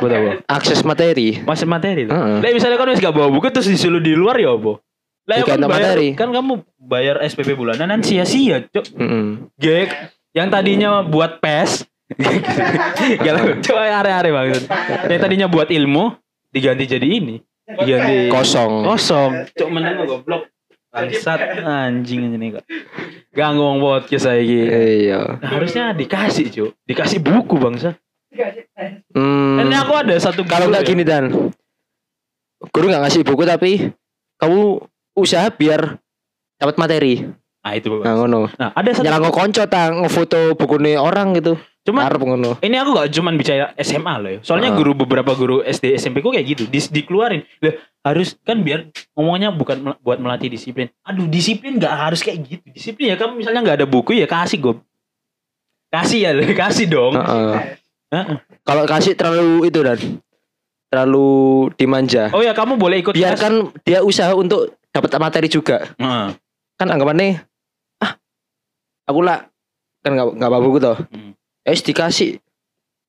Speaker 2: Buat apa?
Speaker 1: Akses materi.
Speaker 2: Masih materi. Lah
Speaker 1: Heeh.
Speaker 2: misalnya kan wis gak bawa buku terus disuruh di luar ya apa? Lah ya
Speaker 1: Dikasih
Speaker 2: kan
Speaker 1: tambah
Speaker 2: bayar,
Speaker 1: materi.
Speaker 2: kan kamu bayar SPP bulanan kan sia-sia, Cuk.
Speaker 1: Mm-mm.
Speaker 2: Gek yang tadinya buat PES Gak coba are-are banget. Yang tadinya buat ilmu diganti jadi ini. Diganti
Speaker 1: Kosong.
Speaker 2: kosong cok menang goblok bangsat anjing anjing kok gak ngomong podcast saya gitu
Speaker 1: Iya.
Speaker 2: nah, harusnya dikasih cok dikasih buku bangsa
Speaker 1: Hmm.
Speaker 2: ini aku ada satu
Speaker 1: Kalau
Speaker 2: guru
Speaker 1: nggak
Speaker 2: ya.
Speaker 1: gini dan guru nggak ngasih buku tapi kamu usaha biar dapat materi.
Speaker 2: nah itu
Speaker 1: Nah,
Speaker 2: Bapak.
Speaker 1: ngono.
Speaker 2: nah ada satu
Speaker 1: Nyala kok konco ta ngefoto bukune orang gitu.
Speaker 2: cuman
Speaker 1: Arep ngono.
Speaker 2: ini aku gak cuman bicara SMA loh ya. Soalnya
Speaker 1: Ah.
Speaker 2: guru beberapa guru SD SMP ku kayak gitu, dis- dikeluarin. Lah, harus kan biar ngomongnya bukan mel- buat melatih disiplin. Aduh, disiplin gak harus kayak gitu. Disiplin ya kamu misalnya gak ada buku ya kasih gob. Kasih ya, Le. kasih dong.
Speaker 1: Heeh.
Speaker 2: Heeh.
Speaker 1: Kalau kasih terlalu itu dan terlalu dimanja.
Speaker 2: Oh ya, kamu boleh ikut kelas. Ah.
Speaker 1: Biarkan dia usaha untuk dapat materi juga.
Speaker 2: Heeh.
Speaker 1: Kan anggapannya ah aku lah kan nggak nggak bawa buku toh.
Speaker 2: Hmm.
Speaker 1: Ya wis dikasih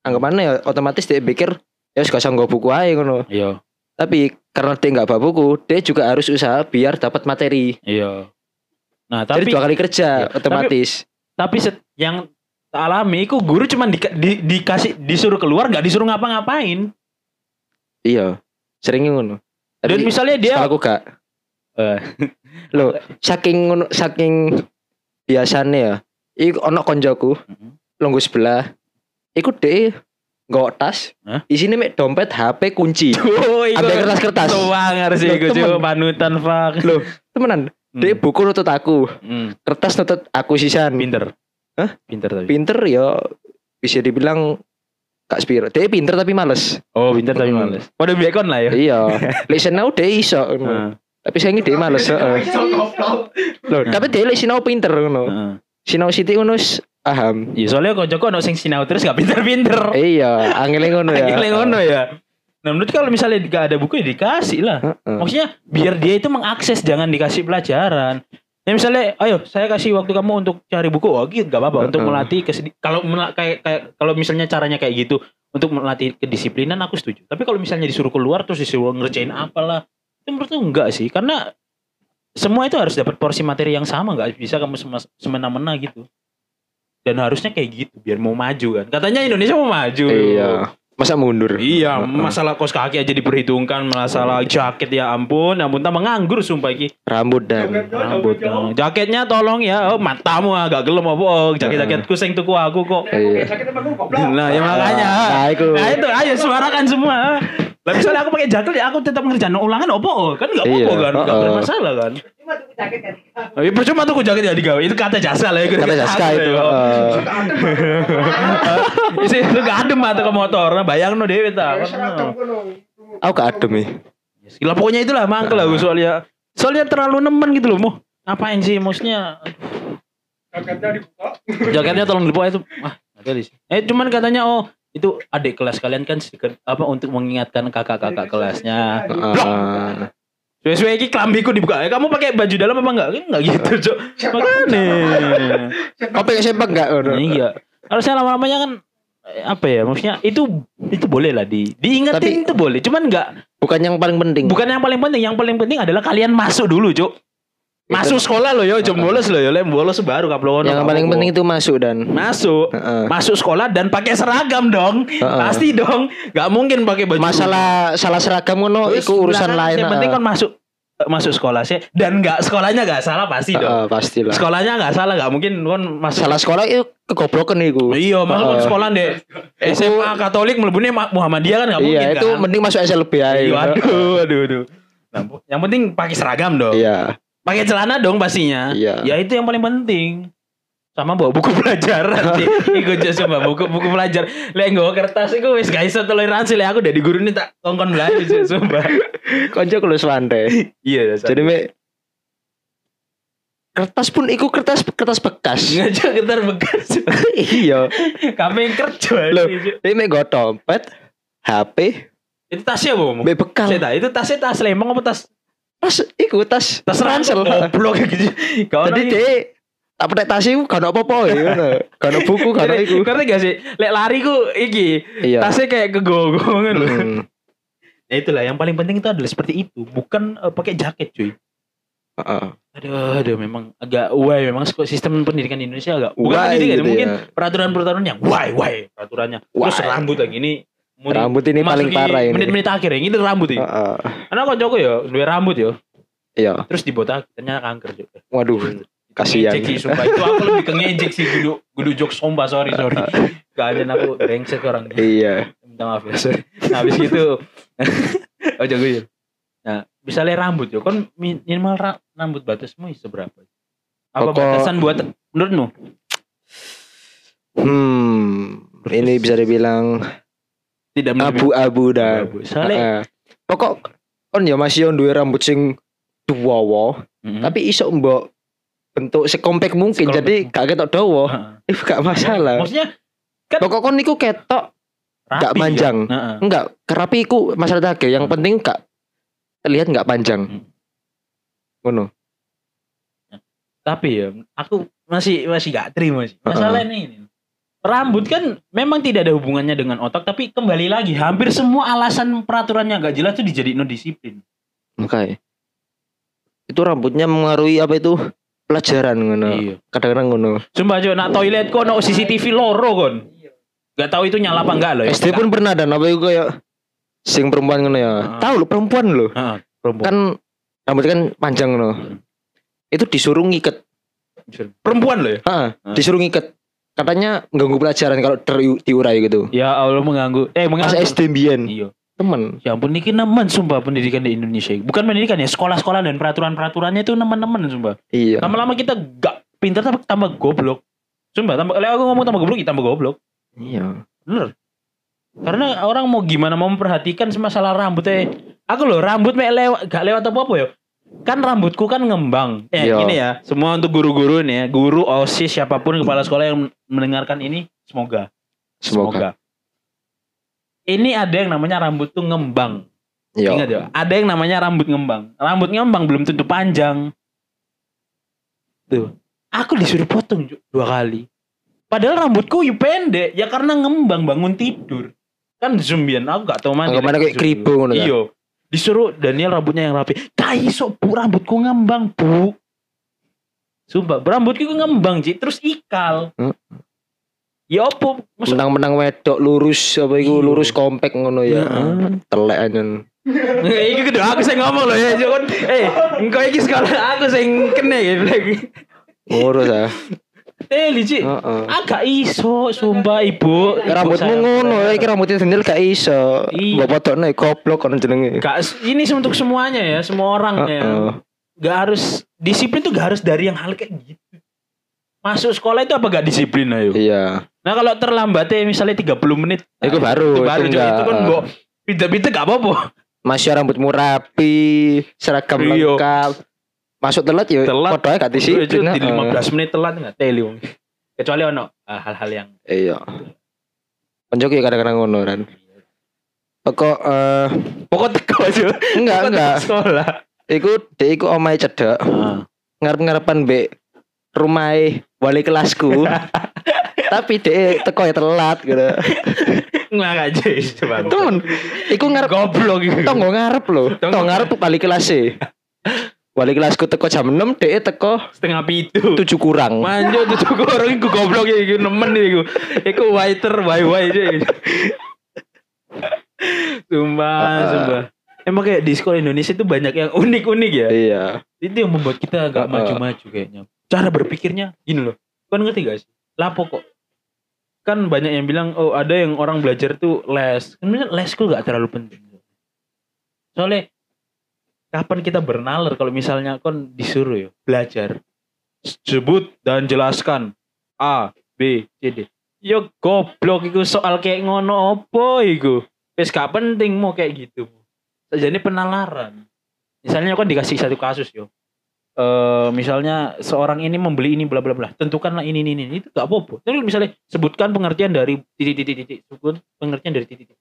Speaker 1: anggapannya ya otomatis dia pikir ya wis gak usah nggo buku aja ngono.
Speaker 2: Iya,
Speaker 1: Tapi karena dia nggak bawa buku, dia juga harus usaha biar dapat materi.
Speaker 2: iya. Nah,
Speaker 1: Jadi
Speaker 2: tapi
Speaker 1: dua kali kerja
Speaker 2: Iya.
Speaker 1: otomatis.
Speaker 2: tapi set- yang tak alami itu guru cuman di, di- dikasih disuruh keluar gak disuruh ngapa-ngapain.
Speaker 1: Iya. Seringnya ngono.
Speaker 2: Dan
Speaker 1: Tapi
Speaker 2: misalnya dia
Speaker 1: sekolahku gak.
Speaker 2: Eh.
Speaker 1: Loh, saking ngono- saking biasane ya. Iku ono konjoku,
Speaker 2: Mm-hmm.
Speaker 1: longgo sebelah. Iku dhek nggo tas.
Speaker 2: Hah?
Speaker 1: Isine mek dompet, HP, kunci.
Speaker 2: Cuy,
Speaker 1: Ada
Speaker 2: kok-
Speaker 1: kertas-kertas.
Speaker 2: Tuang harus
Speaker 1: Loh,
Speaker 2: ikut
Speaker 1: temen.
Speaker 2: cuy, panutan fuck. Hmm.
Speaker 1: Hmm, Loh, temenan. Dhek buku nutut aku, kertas nutut aku sisan.
Speaker 2: pinter.
Speaker 1: Hah?
Speaker 2: Pinter tapi.
Speaker 1: Pinter ya bisa dibilang Kak Spiro. Dia pinter tapi males.
Speaker 2: Oh, pinter tapi
Speaker 1: Hmm.
Speaker 2: males. Waduh, biakon lah ya. Hmm.
Speaker 1: iya. Lek sinau dia iso.
Speaker 2: Heeh.
Speaker 1: Tapi saya dia males. heeh.
Speaker 3: Iso goblok.
Speaker 1: Loh,
Speaker 2: Hmm.
Speaker 1: tapi dia lek sinau pinter ngono.
Speaker 2: Heeh.
Speaker 1: Sinau Siti ngono wis paham.
Speaker 2: Ya soalnya kok Joko no sing sinau terus gak pinter-pinter.
Speaker 1: Iya, angele ngono ya.
Speaker 2: Akhirnya ngono ya. Nah menurut kalau misalnya gak ada buku ya dikasih lah.
Speaker 1: Heeh.
Speaker 2: Maksudnya biar dia itu mengakses jangan dikasih pelajaran. Ya misalnya, ayo saya kasih waktu kamu untuk cari buku, wah gitu gak apa-apa untuk
Speaker 1: Heeh.
Speaker 2: melatih kesedi- kalau mela- kayak kayak kalau misalnya caranya kayak gitu untuk melatih kedisiplinan aku setuju. Tapi kalau misalnya disuruh keluar terus disuruh ngerjain apalah, itu menurutku enggak sih karena semua itu harus dapat porsi materi yang sama nggak bisa kamu sema- semena-mena gitu. Dan harusnya kayak gitu biar mau maju kan. Katanya Indonesia mau maju.
Speaker 1: Iya. Masa mundur?
Speaker 2: Iya,
Speaker 1: Heeh.
Speaker 2: masalah kos kaki aja diperhitungkan, masalah jaket ya ampun, ampun tambah nganggur sumpah iki.
Speaker 1: Rambut dan
Speaker 2: Nah, Rambut. dong. Jaketnya tolong ya, oh, matamu agak gelem apa oh, jaket-jaketku sing tuku aku kok.
Speaker 1: Iya.
Speaker 2: Nah, ya makanya.
Speaker 1: Nah, itu.
Speaker 2: Nah, itu ayo suarakan semua. Lah misalnya aku pakai jaket ya aku tetap ngerjain ulangan opo oh? kan enggak apa-apa
Speaker 1: Iya,
Speaker 2: kan, enggak
Speaker 1: heeh.
Speaker 2: bermasalah kan.
Speaker 3: Cuma tuh jaket kan.
Speaker 2: Eh, percuma tuh aku jaket ya digawe, itu kata jasa lah ya.
Speaker 1: Kata Jaska itu. heeh.
Speaker 2: Isi itu gak adem atau ke motor, nah, bayangno dhewe ta. Kono.
Speaker 1: Aku gak adem ya.
Speaker 2: Lah pokoknya itulah mangkel lah gue soalnya soalnya terlalu nemen gitu loh, Mo. Nah. Ngapain sih maksudnya?
Speaker 3: Jaketnya dibuka.
Speaker 2: Jaketnya tolong dibuka itu. Ah, ada di sini. Eh cuman katanya oh itu adik kelas kalian kan sedikit- apa untuk mengingatkan kakak-kakak kelasnya.
Speaker 1: Heeh.
Speaker 2: Suwe-suwe iki klambiku dibuka. Eh, kamu pakai baju dalam apa enggak? Kan enggak gitu, Cok. Makane.
Speaker 1: Kau pengen sepak gak?
Speaker 2: Iya. Harusnya lama-lamanya kan eh, apa ya maksudnya itu itu boleh lah di diingetin
Speaker 1: Tapi-
Speaker 2: itu boleh cuman enggak
Speaker 1: Bukan yang paling penting.
Speaker 2: Bukan yang paling penting, yang paling penting adalah kalian masuk dulu, Cuk. Masuk sekolah lo yo, jam bolos lo yo, lem bolos baru kaplono.
Speaker 1: Yang paling penting itu masuk dan.
Speaker 2: masuk.
Speaker 1: Heeh.
Speaker 2: Masuk sekolah dan pakai seragam dong.
Speaker 1: Heeh.
Speaker 2: Pasti dong. Gak mungkin pakai baju.
Speaker 1: Masalah salah seragam ngono
Speaker 2: Terus
Speaker 1: iku urusan
Speaker 2: belakangan
Speaker 1: lain.
Speaker 2: Yang penting kan masuk eh, masuk sekolah sih dan nggak sekolahnya nggak salah pasti dong.
Speaker 1: Heeh, pastilah.
Speaker 2: Sekolahnya nggak salah, nggak mungkin kon masuk
Speaker 1: Salah sekolah itu kegoblokan iku.
Speaker 2: Iya, masa kon
Speaker 1: Heeh.
Speaker 2: sekolah deh. SMA Katolik melebunnya Muhammadiyah kan nggak mungkin
Speaker 1: Iya, itu
Speaker 2: kan.
Speaker 1: mending masuk SLB aja.
Speaker 2: Iya, Waduh, waduh, waduh. Nah, Yang penting pakai seragam dong.
Speaker 1: Iya.
Speaker 2: pakai celana dong pastinya
Speaker 1: Iya.
Speaker 2: ya itu yang paling penting sama bawa buku pelajaran sih ikut jasa bawa buku buku pelajar lek nggawa kertas iku wis gak iso toleransi lek aku dari guru ini tak kongkon belajar sih sumpah
Speaker 1: Iya. Konco kulus pandai.
Speaker 2: iya
Speaker 1: Jadi me kertas pun iku kertas kertas bekas.
Speaker 2: ngajak getar bekas
Speaker 1: iya.
Speaker 2: kami yang kerja
Speaker 1: Loh.
Speaker 2: sih, Cuk.
Speaker 1: Tapi me go dompet, HP,
Speaker 2: itu tasnya apa Om?
Speaker 1: me bekal.
Speaker 2: Saya tahu, itu tasnya tas lemong apa tas
Speaker 1: Tas iku tas
Speaker 2: tas ransel goblok gitu Gak
Speaker 1: Jadi
Speaker 2: ono-
Speaker 1: deh tak petek tas iku gak ono apa-apa ya ngono. Gak ono buku, gak ono
Speaker 2: Ngerti-
Speaker 1: iku.
Speaker 2: ngerti gak sih lek lari ku iki
Speaker 1: Iya.
Speaker 2: tasnya kayak kegongongan loh
Speaker 1: Hmm.
Speaker 2: Ya itulah yang paling penting itu adalah seperti itu, bukan eh, pakai jaket, cuy.
Speaker 1: Heeh.
Speaker 2: Aduh, aduh memang agak why memang sko- sistem pendidikan di Indonesia agak bukan
Speaker 1: Why
Speaker 2: pendidikan,
Speaker 1: gitu
Speaker 2: mungkin
Speaker 1: ya.
Speaker 2: peraturan-peraturan yang why why peraturannya. Terus
Speaker 1: Why.
Speaker 2: rambut yang ini muni-
Speaker 1: Rambut ini paling
Speaker 2: memasuki
Speaker 1: parah ini. Oh.
Speaker 2: Menit-menit akhir yang ini rambut ini.
Speaker 1: Heeh.
Speaker 2: Karena kok Joko ya, dua rambut ya,
Speaker 1: Iya.
Speaker 2: terus dibotak ternyata kanker juga.
Speaker 1: Waduh, kasihan.
Speaker 2: Ngejek sih, sumpah. Itu aku lebih ke ngejek sih gudu gudu jok sumpah, sorry sorry. Kalian aku brengsek orang.
Speaker 1: Iya.
Speaker 2: Minta maaf ya. sorry. Nah, habis gitu. oh, jago ya. Nah, misalnya rambut ya, kan minimal ra- rambut batasmu seberapa? Apa
Speaker 1: Pokok-
Speaker 2: batasan buat menurutmu?
Speaker 1: Hmm. Ini bisa dibilang
Speaker 2: Tidak melebihi-
Speaker 1: abu-abu dan
Speaker 2: Abu.
Speaker 1: Heeh.
Speaker 2: Soalnya,
Speaker 1: pokok kon ya masih duwe rambut sing dawa,
Speaker 2: Mm-mm.
Speaker 1: tapi iso mbok bentuk sekomplek mungkin.
Speaker 2: Sekomplek
Speaker 1: Jadi
Speaker 2: mungkin.
Speaker 1: gak ketok dawa,
Speaker 2: Oh, Heeh.
Speaker 1: itu gak masalah.
Speaker 2: Maksudnya
Speaker 1: Pokok kon niku ketok
Speaker 2: rapi.
Speaker 1: Gak manjang.
Speaker 2: Ya. Heeh.
Speaker 1: enggak, kerapi iku masalah tagih. Yang penting gak terlihat gak
Speaker 2: Hmm.
Speaker 1: panjang. Ngono.
Speaker 2: Tapi ya, aku masih masih gak terima sih. Masalahnya ini. Rambut kan memang tidak ada hubungannya dengan otak, tapi kembali lagi hampir semua alasan peraturan yang gak jelas itu dijadiin disiplin.
Speaker 1: Makanya. Itu rambutnya mengaruhi apa itu? Pelajaran ngono.
Speaker 2: Iya.
Speaker 1: Kadang-kadang ngono.
Speaker 2: Sumpah Jo, nak toilet kok no CCTV loro kon. Gak tahu itu nyala apa enggak loh. ya.
Speaker 1: SD pun pernah dan apa itu kayak sing perempuan ngono ya.
Speaker 2: Heeh.
Speaker 1: Tahu lo perempuan lo.
Speaker 2: Heeh, perempuan.
Speaker 1: Kan rambut kan panjang ngono.
Speaker 2: Hmm.
Speaker 1: Itu disuruh ngiket.
Speaker 2: perempuan loh ya.
Speaker 1: Heeh,
Speaker 2: Heeh.
Speaker 1: disuruh ngiket. Katanya mengganggu pelajaran kalau ter- diurai gitu.
Speaker 2: Ya Allah mengganggu.
Speaker 1: Pas
Speaker 2: Eh mengganggu.
Speaker 1: SD mbiyen.
Speaker 2: Iya.
Speaker 1: Temen.
Speaker 2: Ya ampun ini nemen sumpah pendidikan di Indonesia. Bukan pendidikan ya, sekolah-sekolah dan peraturan-peraturannya itu nemen-nemen sumpah.
Speaker 1: Iya.
Speaker 2: Lama-lama kita gak pinter tapi tambah goblok. Sumpah, tambah, lek aku ngomong tambah goblok, ya tambah goblok.
Speaker 1: Iya.
Speaker 2: Bener. Karena orang mau gimana mau memperhatikan masalah rambutnya. Aku loh rambut mek lewat gak lewat apa apa ya. Kan rambutku kan ngembang. Eh
Speaker 1: Iya.
Speaker 2: gini ya, semua untuk guru-guru nih ya, guru, OSIS siapapun kepala sekolah yang mendengarkan ini semoga
Speaker 1: Semoga.
Speaker 2: Ini ada yang namanya rambut tuh ngembang. Ingat
Speaker 1: Iya.
Speaker 2: ya, ada yang namanya rambut ngembang. Rambut ngembang belum tentu panjang. Tuh. Aku disuruh potong Ju, dua kali. Padahal rambutku ya pendek, ya karena ngembang bangun tidur. Kan zumbian, aku gak tau mandi.
Speaker 1: Anggapannya kayak keribu ngono kan?
Speaker 2: Iya. Disuruh Daniel rambutnya yang rapi. Tai sok bu, rambutku ngembang bu. Sumpah, rambutku ngembang Ji, terus ikal.
Speaker 1: Hmm.
Speaker 2: Ya opo, maksud
Speaker 1: Menang-menang wedok lurus apa iku
Speaker 2: Iya.
Speaker 1: lurus kompak ngono ya.
Speaker 2: Heeh.
Speaker 1: Ah, Telek anjen.
Speaker 2: Iki kudu aku sing ngomong loh ya, Jokon. Eh, engko iki sekolah aku sing kene ya bilang.
Speaker 1: Ngurus ah.
Speaker 2: Eh, Lici.
Speaker 1: Heeh.
Speaker 2: Agak iso, sumpah ibu. Ibu
Speaker 1: Rambutmu
Speaker 2: saya-
Speaker 1: ngono, ya, iki rambutnya sendiri gak iso. Mbok
Speaker 2: Iya.
Speaker 1: potokne goblok kono jenenge.
Speaker 2: Gak, ini untuk semuanya ya, semua orang ya.
Speaker 1: Heeh.
Speaker 2: Gak harus disiplin tuh gak harus dari yang hal kayak gitu. Masuk sekolah itu apa gak disiplin ayo?
Speaker 1: Iya.
Speaker 2: Nah kalau terlambatnya misalnya 30 menit. Nah,
Speaker 1: Itu baru, itu
Speaker 2: Itu baru Jok.
Speaker 1: enggak.
Speaker 2: itu kan mbok pinter-pinter gak apa-apa.
Speaker 1: Masih rambutmu rapi, seragam
Speaker 2: Iya.
Speaker 1: lengkap. Masuk telat ya,
Speaker 2: Telat.
Speaker 1: podoke gak disiplin.
Speaker 2: Itu Di
Speaker 1: heeh.
Speaker 2: 15 menit telat gak teli wong. Kecuali ono ah, hal-hal yang
Speaker 1: Iya. Penjoki kadang-kadang ngono kan. Pokok eh
Speaker 2: pokok teko aja.
Speaker 1: enggak
Speaker 2: Pokok
Speaker 1: enggak.
Speaker 2: teko Sekolah.
Speaker 1: Iku dek iku omahe cedek.
Speaker 2: Ah.
Speaker 1: Ngarep-ngarepan mbek rumahe wali kelasku. Tapi dek teko ya telat gitu.
Speaker 2: Nggak aja coba.
Speaker 1: Temen, iku ngarep
Speaker 2: goblok gitu.
Speaker 1: tonggo ngarep lho.
Speaker 2: Tonggo.
Speaker 1: Tonggo ngarep wali kelas e. Wali kelasku teko jam 6, dek teko
Speaker 2: Setengah pitu.
Speaker 1: 7 kurang.
Speaker 2: Manjo tuh cukup orang iku goblok ya iku nemen ya iku. Iku waiter wai-wai aja. iku. Sumpah,
Speaker 1: Ah.
Speaker 2: sumpah. Emang kayak di sekolah Indonesia itu banyak yang unik-unik ya.
Speaker 1: Iya.
Speaker 2: Itu yang membuat
Speaker 1: Ah,
Speaker 2: kita
Speaker 1: ah.
Speaker 2: agak maju-maju kayaknya. Cara berpikirnya gini loh. Kan ngerti guys? Lapo kok. Kan banyak yang bilang oh ada yang orang belajar tuh les. Kan Sebenarnya les tuh gak terlalu penting. Soalnya kapan kita bernalar kalau misalnya kon disuruh ya belajar. Sebut dan jelaskan A, B, C, D. Yo goblok iku soal kayak ngono opo iku. Wis gak penting mau kayak gitu. Jadi penalaran. Misalnya kan dikasih satu kasus yo. Eh misalnya seorang ini membeli ini bla bla bla. Tentukanlah ini ini ini itu gak apa-apa. Tapi misalnya sebutkan pengertian dari titik titik titik. Sebut pengertian dari titik titik.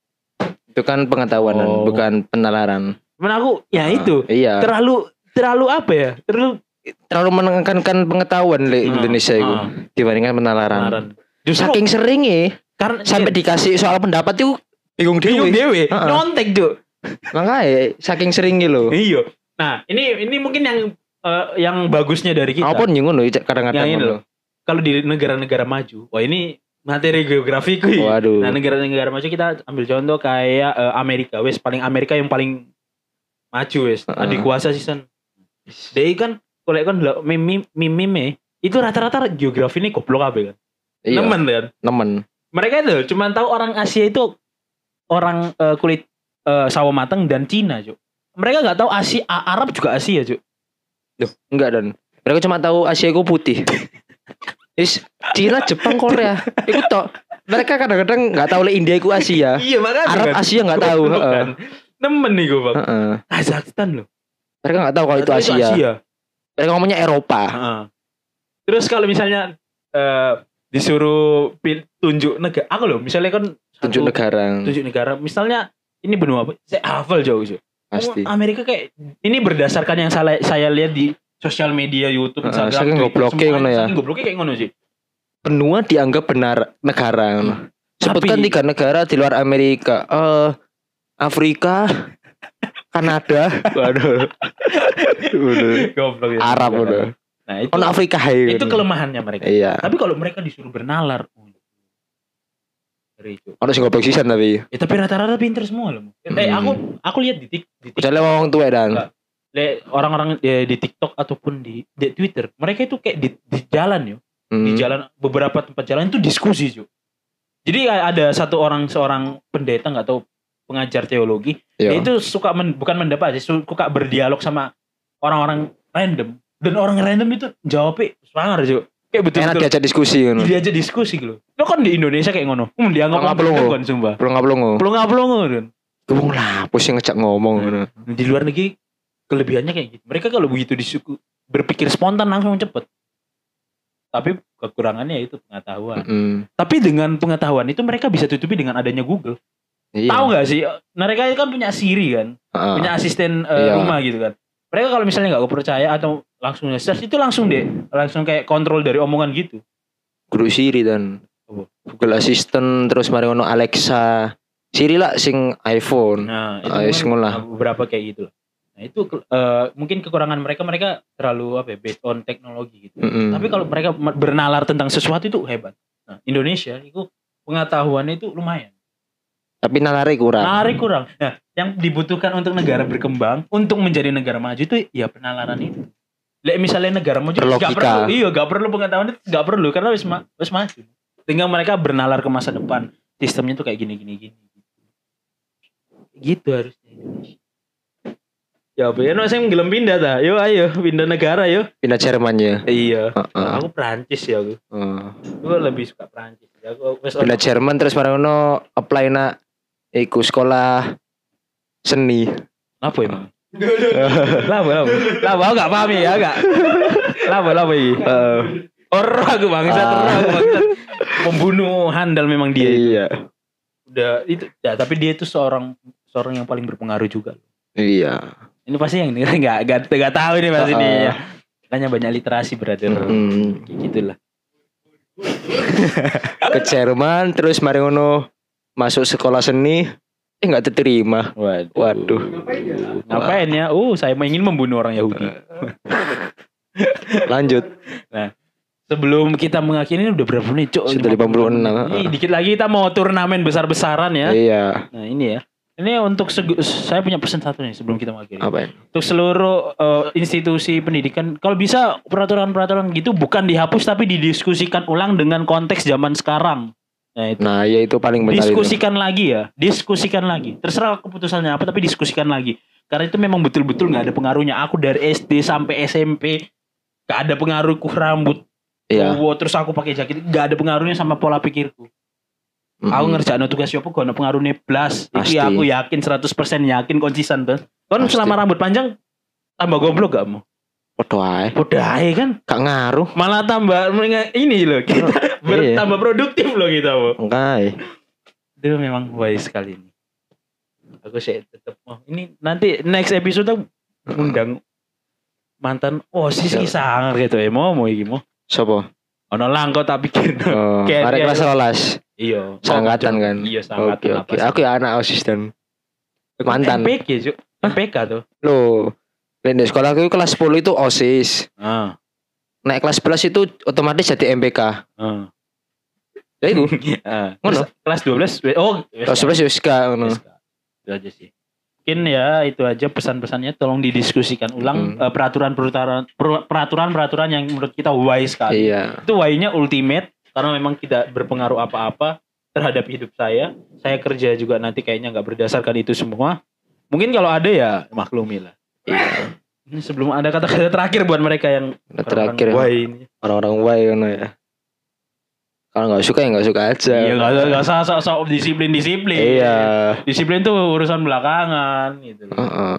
Speaker 1: Itu kan pengetahuan
Speaker 2: Oh.
Speaker 1: bukan penalaran.
Speaker 2: Cuman aku ya itu
Speaker 1: Iya.
Speaker 2: terlalu terlalu apa ya? Terlalu
Speaker 1: terlalu menekankan pengetahuan di Indonesia itu
Speaker 2: Ah,
Speaker 1: dibandingkan penalaran.
Speaker 2: penalaran. Justru
Speaker 1: Saking seringnya
Speaker 2: karena
Speaker 1: sampai dikasih soal pendapat itu bingung
Speaker 2: bingung
Speaker 1: dewe.
Speaker 2: dewe,
Speaker 1: Ah, ah.
Speaker 2: nontek Cuk.
Speaker 1: Makanya saking seringnya loh.
Speaker 2: Iya. Nah, ini ini mungkin yang eh, yang bagusnya dari kita.
Speaker 1: Apapun yang ngono kadang-kadang
Speaker 2: Yang ini
Speaker 1: ngono.
Speaker 2: Kalau di negara-negara maju, wah ini materi geografiku. ini.
Speaker 1: Waduh.
Speaker 2: Nah, negara-negara maju kita ambil contoh kayak eh, Amerika, wes paling Amerika yang paling maju wes.
Speaker 1: Heeh.
Speaker 2: Adik kuasa season. DI kan kalau kan lo- mimi mimi me, itu rata-rata geografi ini goblok apa kan?
Speaker 1: Iya,
Speaker 2: Nemen kan.
Speaker 1: nemen.
Speaker 2: Mereka itu cuma tahu orang Asia itu orang eh, kulit eh, sawo mateng dan Cina, Cuk. Mereka nggak tahu Asia Arab juga Asia, Cuk.
Speaker 1: Enggak dan mereka cuma tahu Asia itu putih. Is Cina, Jepang, Korea. Itu tok. Mereka kadang-kadang nggak tahu le India itu Asia.
Speaker 2: Iya makanya
Speaker 1: Arab Asia nggak tahu.
Speaker 2: Goblok
Speaker 1: heeh.
Speaker 2: kan. Nemen nih gue bang.
Speaker 1: Heeh.
Speaker 2: Kazakhstan loh.
Speaker 1: Mereka nggak tahu kalau itu
Speaker 2: Ternyata
Speaker 1: Asia. Mereka ngomongnya Eropa.
Speaker 2: Heeh. Terus kalau misalnya eh, disuruh pil- tunjuk negara, aku loh misalnya kan
Speaker 1: Tunjuk
Speaker 2: satu-
Speaker 1: negara
Speaker 2: tunjuk negara. Misalnya ini benua apa? Saya hafal jauh jauh.
Speaker 1: pasti.
Speaker 2: Amerika kayak ini berdasarkan yang saya saya lihat di sosial media YouTube
Speaker 1: Heeh,
Speaker 2: Instagram.
Speaker 1: saking
Speaker 2: Twitter,
Speaker 1: gobloknya
Speaker 2: semuanya,
Speaker 1: ngono ya.
Speaker 2: Saking gobloknya kayak ngono sih.
Speaker 1: benua dianggap benar negara. Hmm. Sebutkan
Speaker 2: Tapi-
Speaker 1: tiga negara di luar Amerika. Eh Afrika, Kanada, waduh. Waduh.
Speaker 2: Goblok ya.
Speaker 1: Arab udah.
Speaker 2: Nah, itu,
Speaker 1: Oh, Afrika hai.
Speaker 2: itu kelemahannya mereka.
Speaker 1: Iya.
Speaker 2: Tapi kalau mereka disuruh bernalar, oh, ngeri, Cuk.
Speaker 1: Ono sing goblok sisan tapi.
Speaker 2: Ya, tapi rata-rata pinter semua loh. Eh
Speaker 1: Hmm.
Speaker 2: aku aku lihat di tik di tik
Speaker 1: Kecuali wong tuwek dan.
Speaker 2: Enggak. le- orang-orang eh, di TikTok ataupun di, di Twitter, mereka itu kayak di, di jalan yo,
Speaker 1: Hmm.
Speaker 2: di jalan beberapa tempat jalan itu diskusi cuy. Jadi kayak ada satu orang seorang pendeta nggak tahu pengajar teologi,
Speaker 1: Iya.
Speaker 2: dia itu suka men- bukan mendapat sih, suka berdialog sama orang-orang random dan orang random itu jawabnya sangar cuy. Kayak betul
Speaker 1: Enak
Speaker 2: betul.
Speaker 1: diajak diskusi kan.
Speaker 2: Dia aja diskusi gitu. Lo kan di Indonesia kayak ngono. Hmm,
Speaker 1: Pelongo,
Speaker 2: dianggap
Speaker 1: pelongo.
Speaker 2: kan sumpah.
Speaker 1: Belum nggak belum
Speaker 2: Pelongo pelongo kan.
Speaker 1: Gue lah, pusing ngejak ngomong.
Speaker 2: Hmm.
Speaker 1: ngono.
Speaker 2: Di luar negeri kelebihannya kayak gitu. Mereka kalau begitu disuku berpikir spontan langsung cepet. Tapi kekurangannya itu pengetahuan.
Speaker 1: Mm-mm.
Speaker 2: Tapi dengan pengetahuan itu mereka bisa tutupi dengan adanya Google.
Speaker 1: Iya.
Speaker 2: Tahu nggak sih? Mereka kan punya Siri kan.
Speaker 1: Ah.
Speaker 2: punya asisten
Speaker 1: Iya.
Speaker 2: eh, rumah gitu kan. Mereka kalau misalnya nggak percaya atau langsung nge-search itu langsung deh, langsung kayak kontrol dari omongan gitu.
Speaker 1: Guru Siri dan
Speaker 2: Apa?
Speaker 1: Google Assistant terus mari ngono Alexa. Siri lah sing iPhone.
Speaker 2: Nah, itu
Speaker 1: Ah,
Speaker 2: kan
Speaker 1: yes, ngolah.
Speaker 2: beberapa kayak gitu lah. Nah, itu ke- eh, mungkin kekurangan mereka mereka terlalu apa ya, based on teknologi gitu.
Speaker 1: Mm-mm.
Speaker 2: Tapi kalau mereka me- bernalar tentang sesuatu itu hebat. Nah, Indonesia itu pengetahuannya itu lumayan.
Speaker 1: tapi nalare kurang.
Speaker 2: Menarik kurang. Nah, yang dibutuhkan untuk negara berkembang, untuk menjadi negara maju itu ya penalaran itu. Lek misalnya negara maju
Speaker 1: Berlogika.
Speaker 2: nggak perlu, iya nggak perlu pengetahuan itu nggak perlu karena wis ma wis maju. Tinggal mereka bernalar ke masa depan. Sistemnya tuh kayak gini gini gini. Gitu harusnya. Indonesia. Ya, ben saya ngelem pindah ta. Yo ayo pindah negara yo.
Speaker 1: Pindah Jerman ya.
Speaker 2: Iya.
Speaker 1: Heeh.
Speaker 2: Aku Prancis ya aku.
Speaker 1: Heeh.
Speaker 2: Gue lebih suka Ya, Prancis. Aku wis
Speaker 1: Pindah Jerman terus mari ngono apply nak iku sekolah seni.
Speaker 2: Apa emang? Labo, labo. Labo, aku gak paham ya, gak. Labo, labo ini. Orang aku bangsat,
Speaker 1: Ah.
Speaker 2: orang aku bangsat. Pembunuh handal memang dia.
Speaker 1: Iya.
Speaker 2: Udah itu, ya, tapi dia itu seorang seorang yang paling berpengaruh juga.
Speaker 1: Iya.
Speaker 2: Ini pasti yang dengerin nggak nggak nggak tahu ini pasti
Speaker 1: Ah.
Speaker 2: ini. Ya. Makanya banyak literasi brother.
Speaker 1: Mm.
Speaker 2: Kayak gitulah.
Speaker 1: Ke Jerman terus mari ngono masuk sekolah seni eh nggak diterima.
Speaker 2: Waduh.
Speaker 1: Waduh.
Speaker 3: Ngapain ya?
Speaker 2: Ngapain ya? Oh, saya ingin membunuh orang Yahudi.
Speaker 1: Lanjut.
Speaker 2: Nah, Sebelum kita mengakhiri ini udah berapa menit, Cuk?
Speaker 1: Sudah 56.
Speaker 2: Ini dikit lagi kita mau turnamen besar-besaran ya.
Speaker 1: Iya.
Speaker 2: Nah ini ya. Ini untuk seg- saya punya pesan satu nih sebelum kita mengakhiri.
Speaker 1: Apa ini?
Speaker 2: Untuk seluruh eh, institusi pendidikan, kalau bisa peraturan-peraturan gitu bukan dihapus tapi didiskusikan ulang dengan konteks zaman sekarang. Nah itu.
Speaker 1: Nah, ya itu paling benar itu.
Speaker 2: Diskusikan lagi ya, diskusikan lagi. Terserah keputusannya apa tapi diskusikan lagi. Karena itu memang betul-betul nggak ada pengaruhnya. Aku dari SD sampai SMP nggak ada pengaruhku rambut,
Speaker 1: Iya.
Speaker 2: wow, terus aku pakai jaket, nggak ada pengaruhnya sama pola pikirku aku
Speaker 1: Mm-mm.
Speaker 2: ngerjain tugas yo gak ono pengaruhnya blas
Speaker 1: Pasti.
Speaker 2: iki aku yakin 100% yakin konsisten blas kan
Speaker 1: Pasti.
Speaker 2: selama rambut panjang tambah goblok gak mau
Speaker 1: Podo ae.
Speaker 2: Podo ae kan
Speaker 1: Gak ngaruh.
Speaker 2: malah tambah meringa- ini loh kita
Speaker 1: Iya.
Speaker 2: bertambah produktif loh kita Bu.
Speaker 1: Enggak. eh.
Speaker 2: itu memang wise sekali ini aku sih tetep mau ini nanti next episode aku undang mantan oh sih sih sangar gitu ya mau mau iki mau
Speaker 1: Sopo?
Speaker 2: ono langko tak pikir
Speaker 1: Oh,
Speaker 2: Kayak
Speaker 1: arek
Speaker 2: dia- ya.
Speaker 1: kelas 11.
Speaker 2: iya
Speaker 1: Seangkatan kan?
Speaker 2: iya seangkatan
Speaker 1: Oke, oke.
Speaker 2: apa sih?
Speaker 1: Aku ya anak OSIS dan mantan.
Speaker 2: MPK Cuk. MPK tuh
Speaker 1: Loh, lain di sekolah aku kelas 10 itu OSIS.
Speaker 2: ah
Speaker 1: Naik kelas 11 itu otomatis jadi MPK.
Speaker 2: Heeh.
Speaker 1: Ya itu.
Speaker 2: ah. Terus kelas 12 we- oh
Speaker 1: Kelas 11 ya SK ngono.
Speaker 2: SK. Itu aja sih. Mungkin ya itu aja pesan-pesannya tolong didiskusikan ulang
Speaker 1: Hmm.
Speaker 2: eh, peraturan-peraturan peraturan-peraturan yang menurut kita wise sekali.
Speaker 1: Iya.
Speaker 2: Itu why-nya ultimate karena memang tidak berpengaruh apa-apa terhadap hidup saya. Saya kerja juga nanti kayaknya nggak berdasarkan itu semua. Mungkin kalau ada ya maklumi lah.
Speaker 1: Iya.
Speaker 2: Ini sebelum ada kata-kata terakhir buat mereka yang
Speaker 1: Nah, terakhir
Speaker 2: orang-orang why ini.
Speaker 1: orang-orang wai ngono ya. Kalau nggak suka ya nggak suka aja.
Speaker 2: Iya, nggak nggak usah sok-sok disiplin-disiplin.
Speaker 1: Iya.
Speaker 2: disiplin tuh urusan belakangan gitu loh.
Speaker 1: Heeh.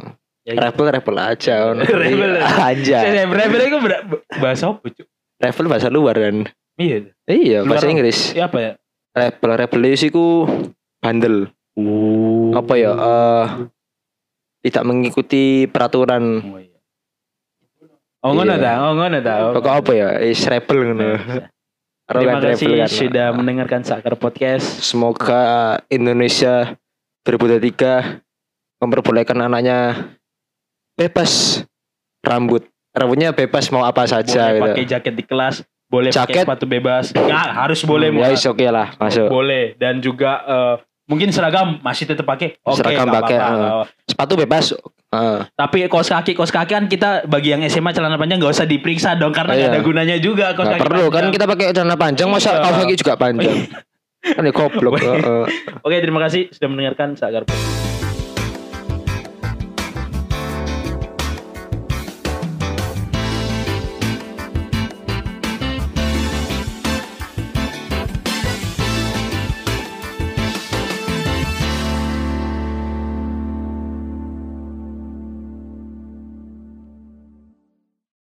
Speaker 2: Ya, gitu.
Speaker 1: Rebel rebel aja. ngono.
Speaker 2: Rebel.
Speaker 1: Iya, aja.
Speaker 2: Saya saya bener-bener itu ber- bahasa apa cuy?
Speaker 1: Rebel bahasa luar dan.
Speaker 2: Iya.
Speaker 1: Iya,
Speaker 2: Luar
Speaker 1: bahasa
Speaker 2: apa?
Speaker 1: Inggris.
Speaker 2: Ya apa ya?
Speaker 1: Rebel rebel iku bandel.
Speaker 2: Oh.
Speaker 1: Apa ya? Eh, tidak mengikuti peraturan
Speaker 2: Oh iya. Oh ngono
Speaker 1: Iya.
Speaker 2: ta, oh ngono ta. Oh,
Speaker 1: Pokok apa ya? Is rebel ngono. Rebel
Speaker 2: Hmm. Terima
Speaker 1: kan,
Speaker 2: kasih
Speaker 1: rebel kan.
Speaker 2: sudah mendengarkan Sakar Podcast.
Speaker 1: Semoga Indonesia 2023 memperbolehkan anaknya bebas rambut. Rambutnya bebas mau apa saja
Speaker 2: Boleh
Speaker 1: gitu.
Speaker 2: pakai jaket di kelas, boleh pakai
Speaker 1: Jaket?
Speaker 2: sepatu bebas. Enggak, harus
Speaker 1: Ya
Speaker 2: boleh Mulan.
Speaker 1: is oke lah, masuk.
Speaker 2: Boleh dan juga eh, mungkin seragam masih tetap pakai. Oke,
Speaker 1: Seragam
Speaker 2: nggak
Speaker 1: pakai, eh.
Speaker 2: apa-apa.
Speaker 1: Sepatu bebas. eh. Heeh.
Speaker 2: Tapi kaos kaki, kaos kaki kan kita bagi yang SMA celana panjang nggak usah diperiksa dong karena
Speaker 1: Iya.
Speaker 2: nggak ada gunanya juga kaos
Speaker 1: Nggak
Speaker 2: kaki.
Speaker 1: perlu kan
Speaker 2: panjang.
Speaker 1: kita pakai celana panjang masa
Speaker 2: Iya.
Speaker 1: kaos kaki juga panjang. kan ya goblok. Heeh.
Speaker 2: Oke, terima kasih sudah mendengarkan Sakar Podcast.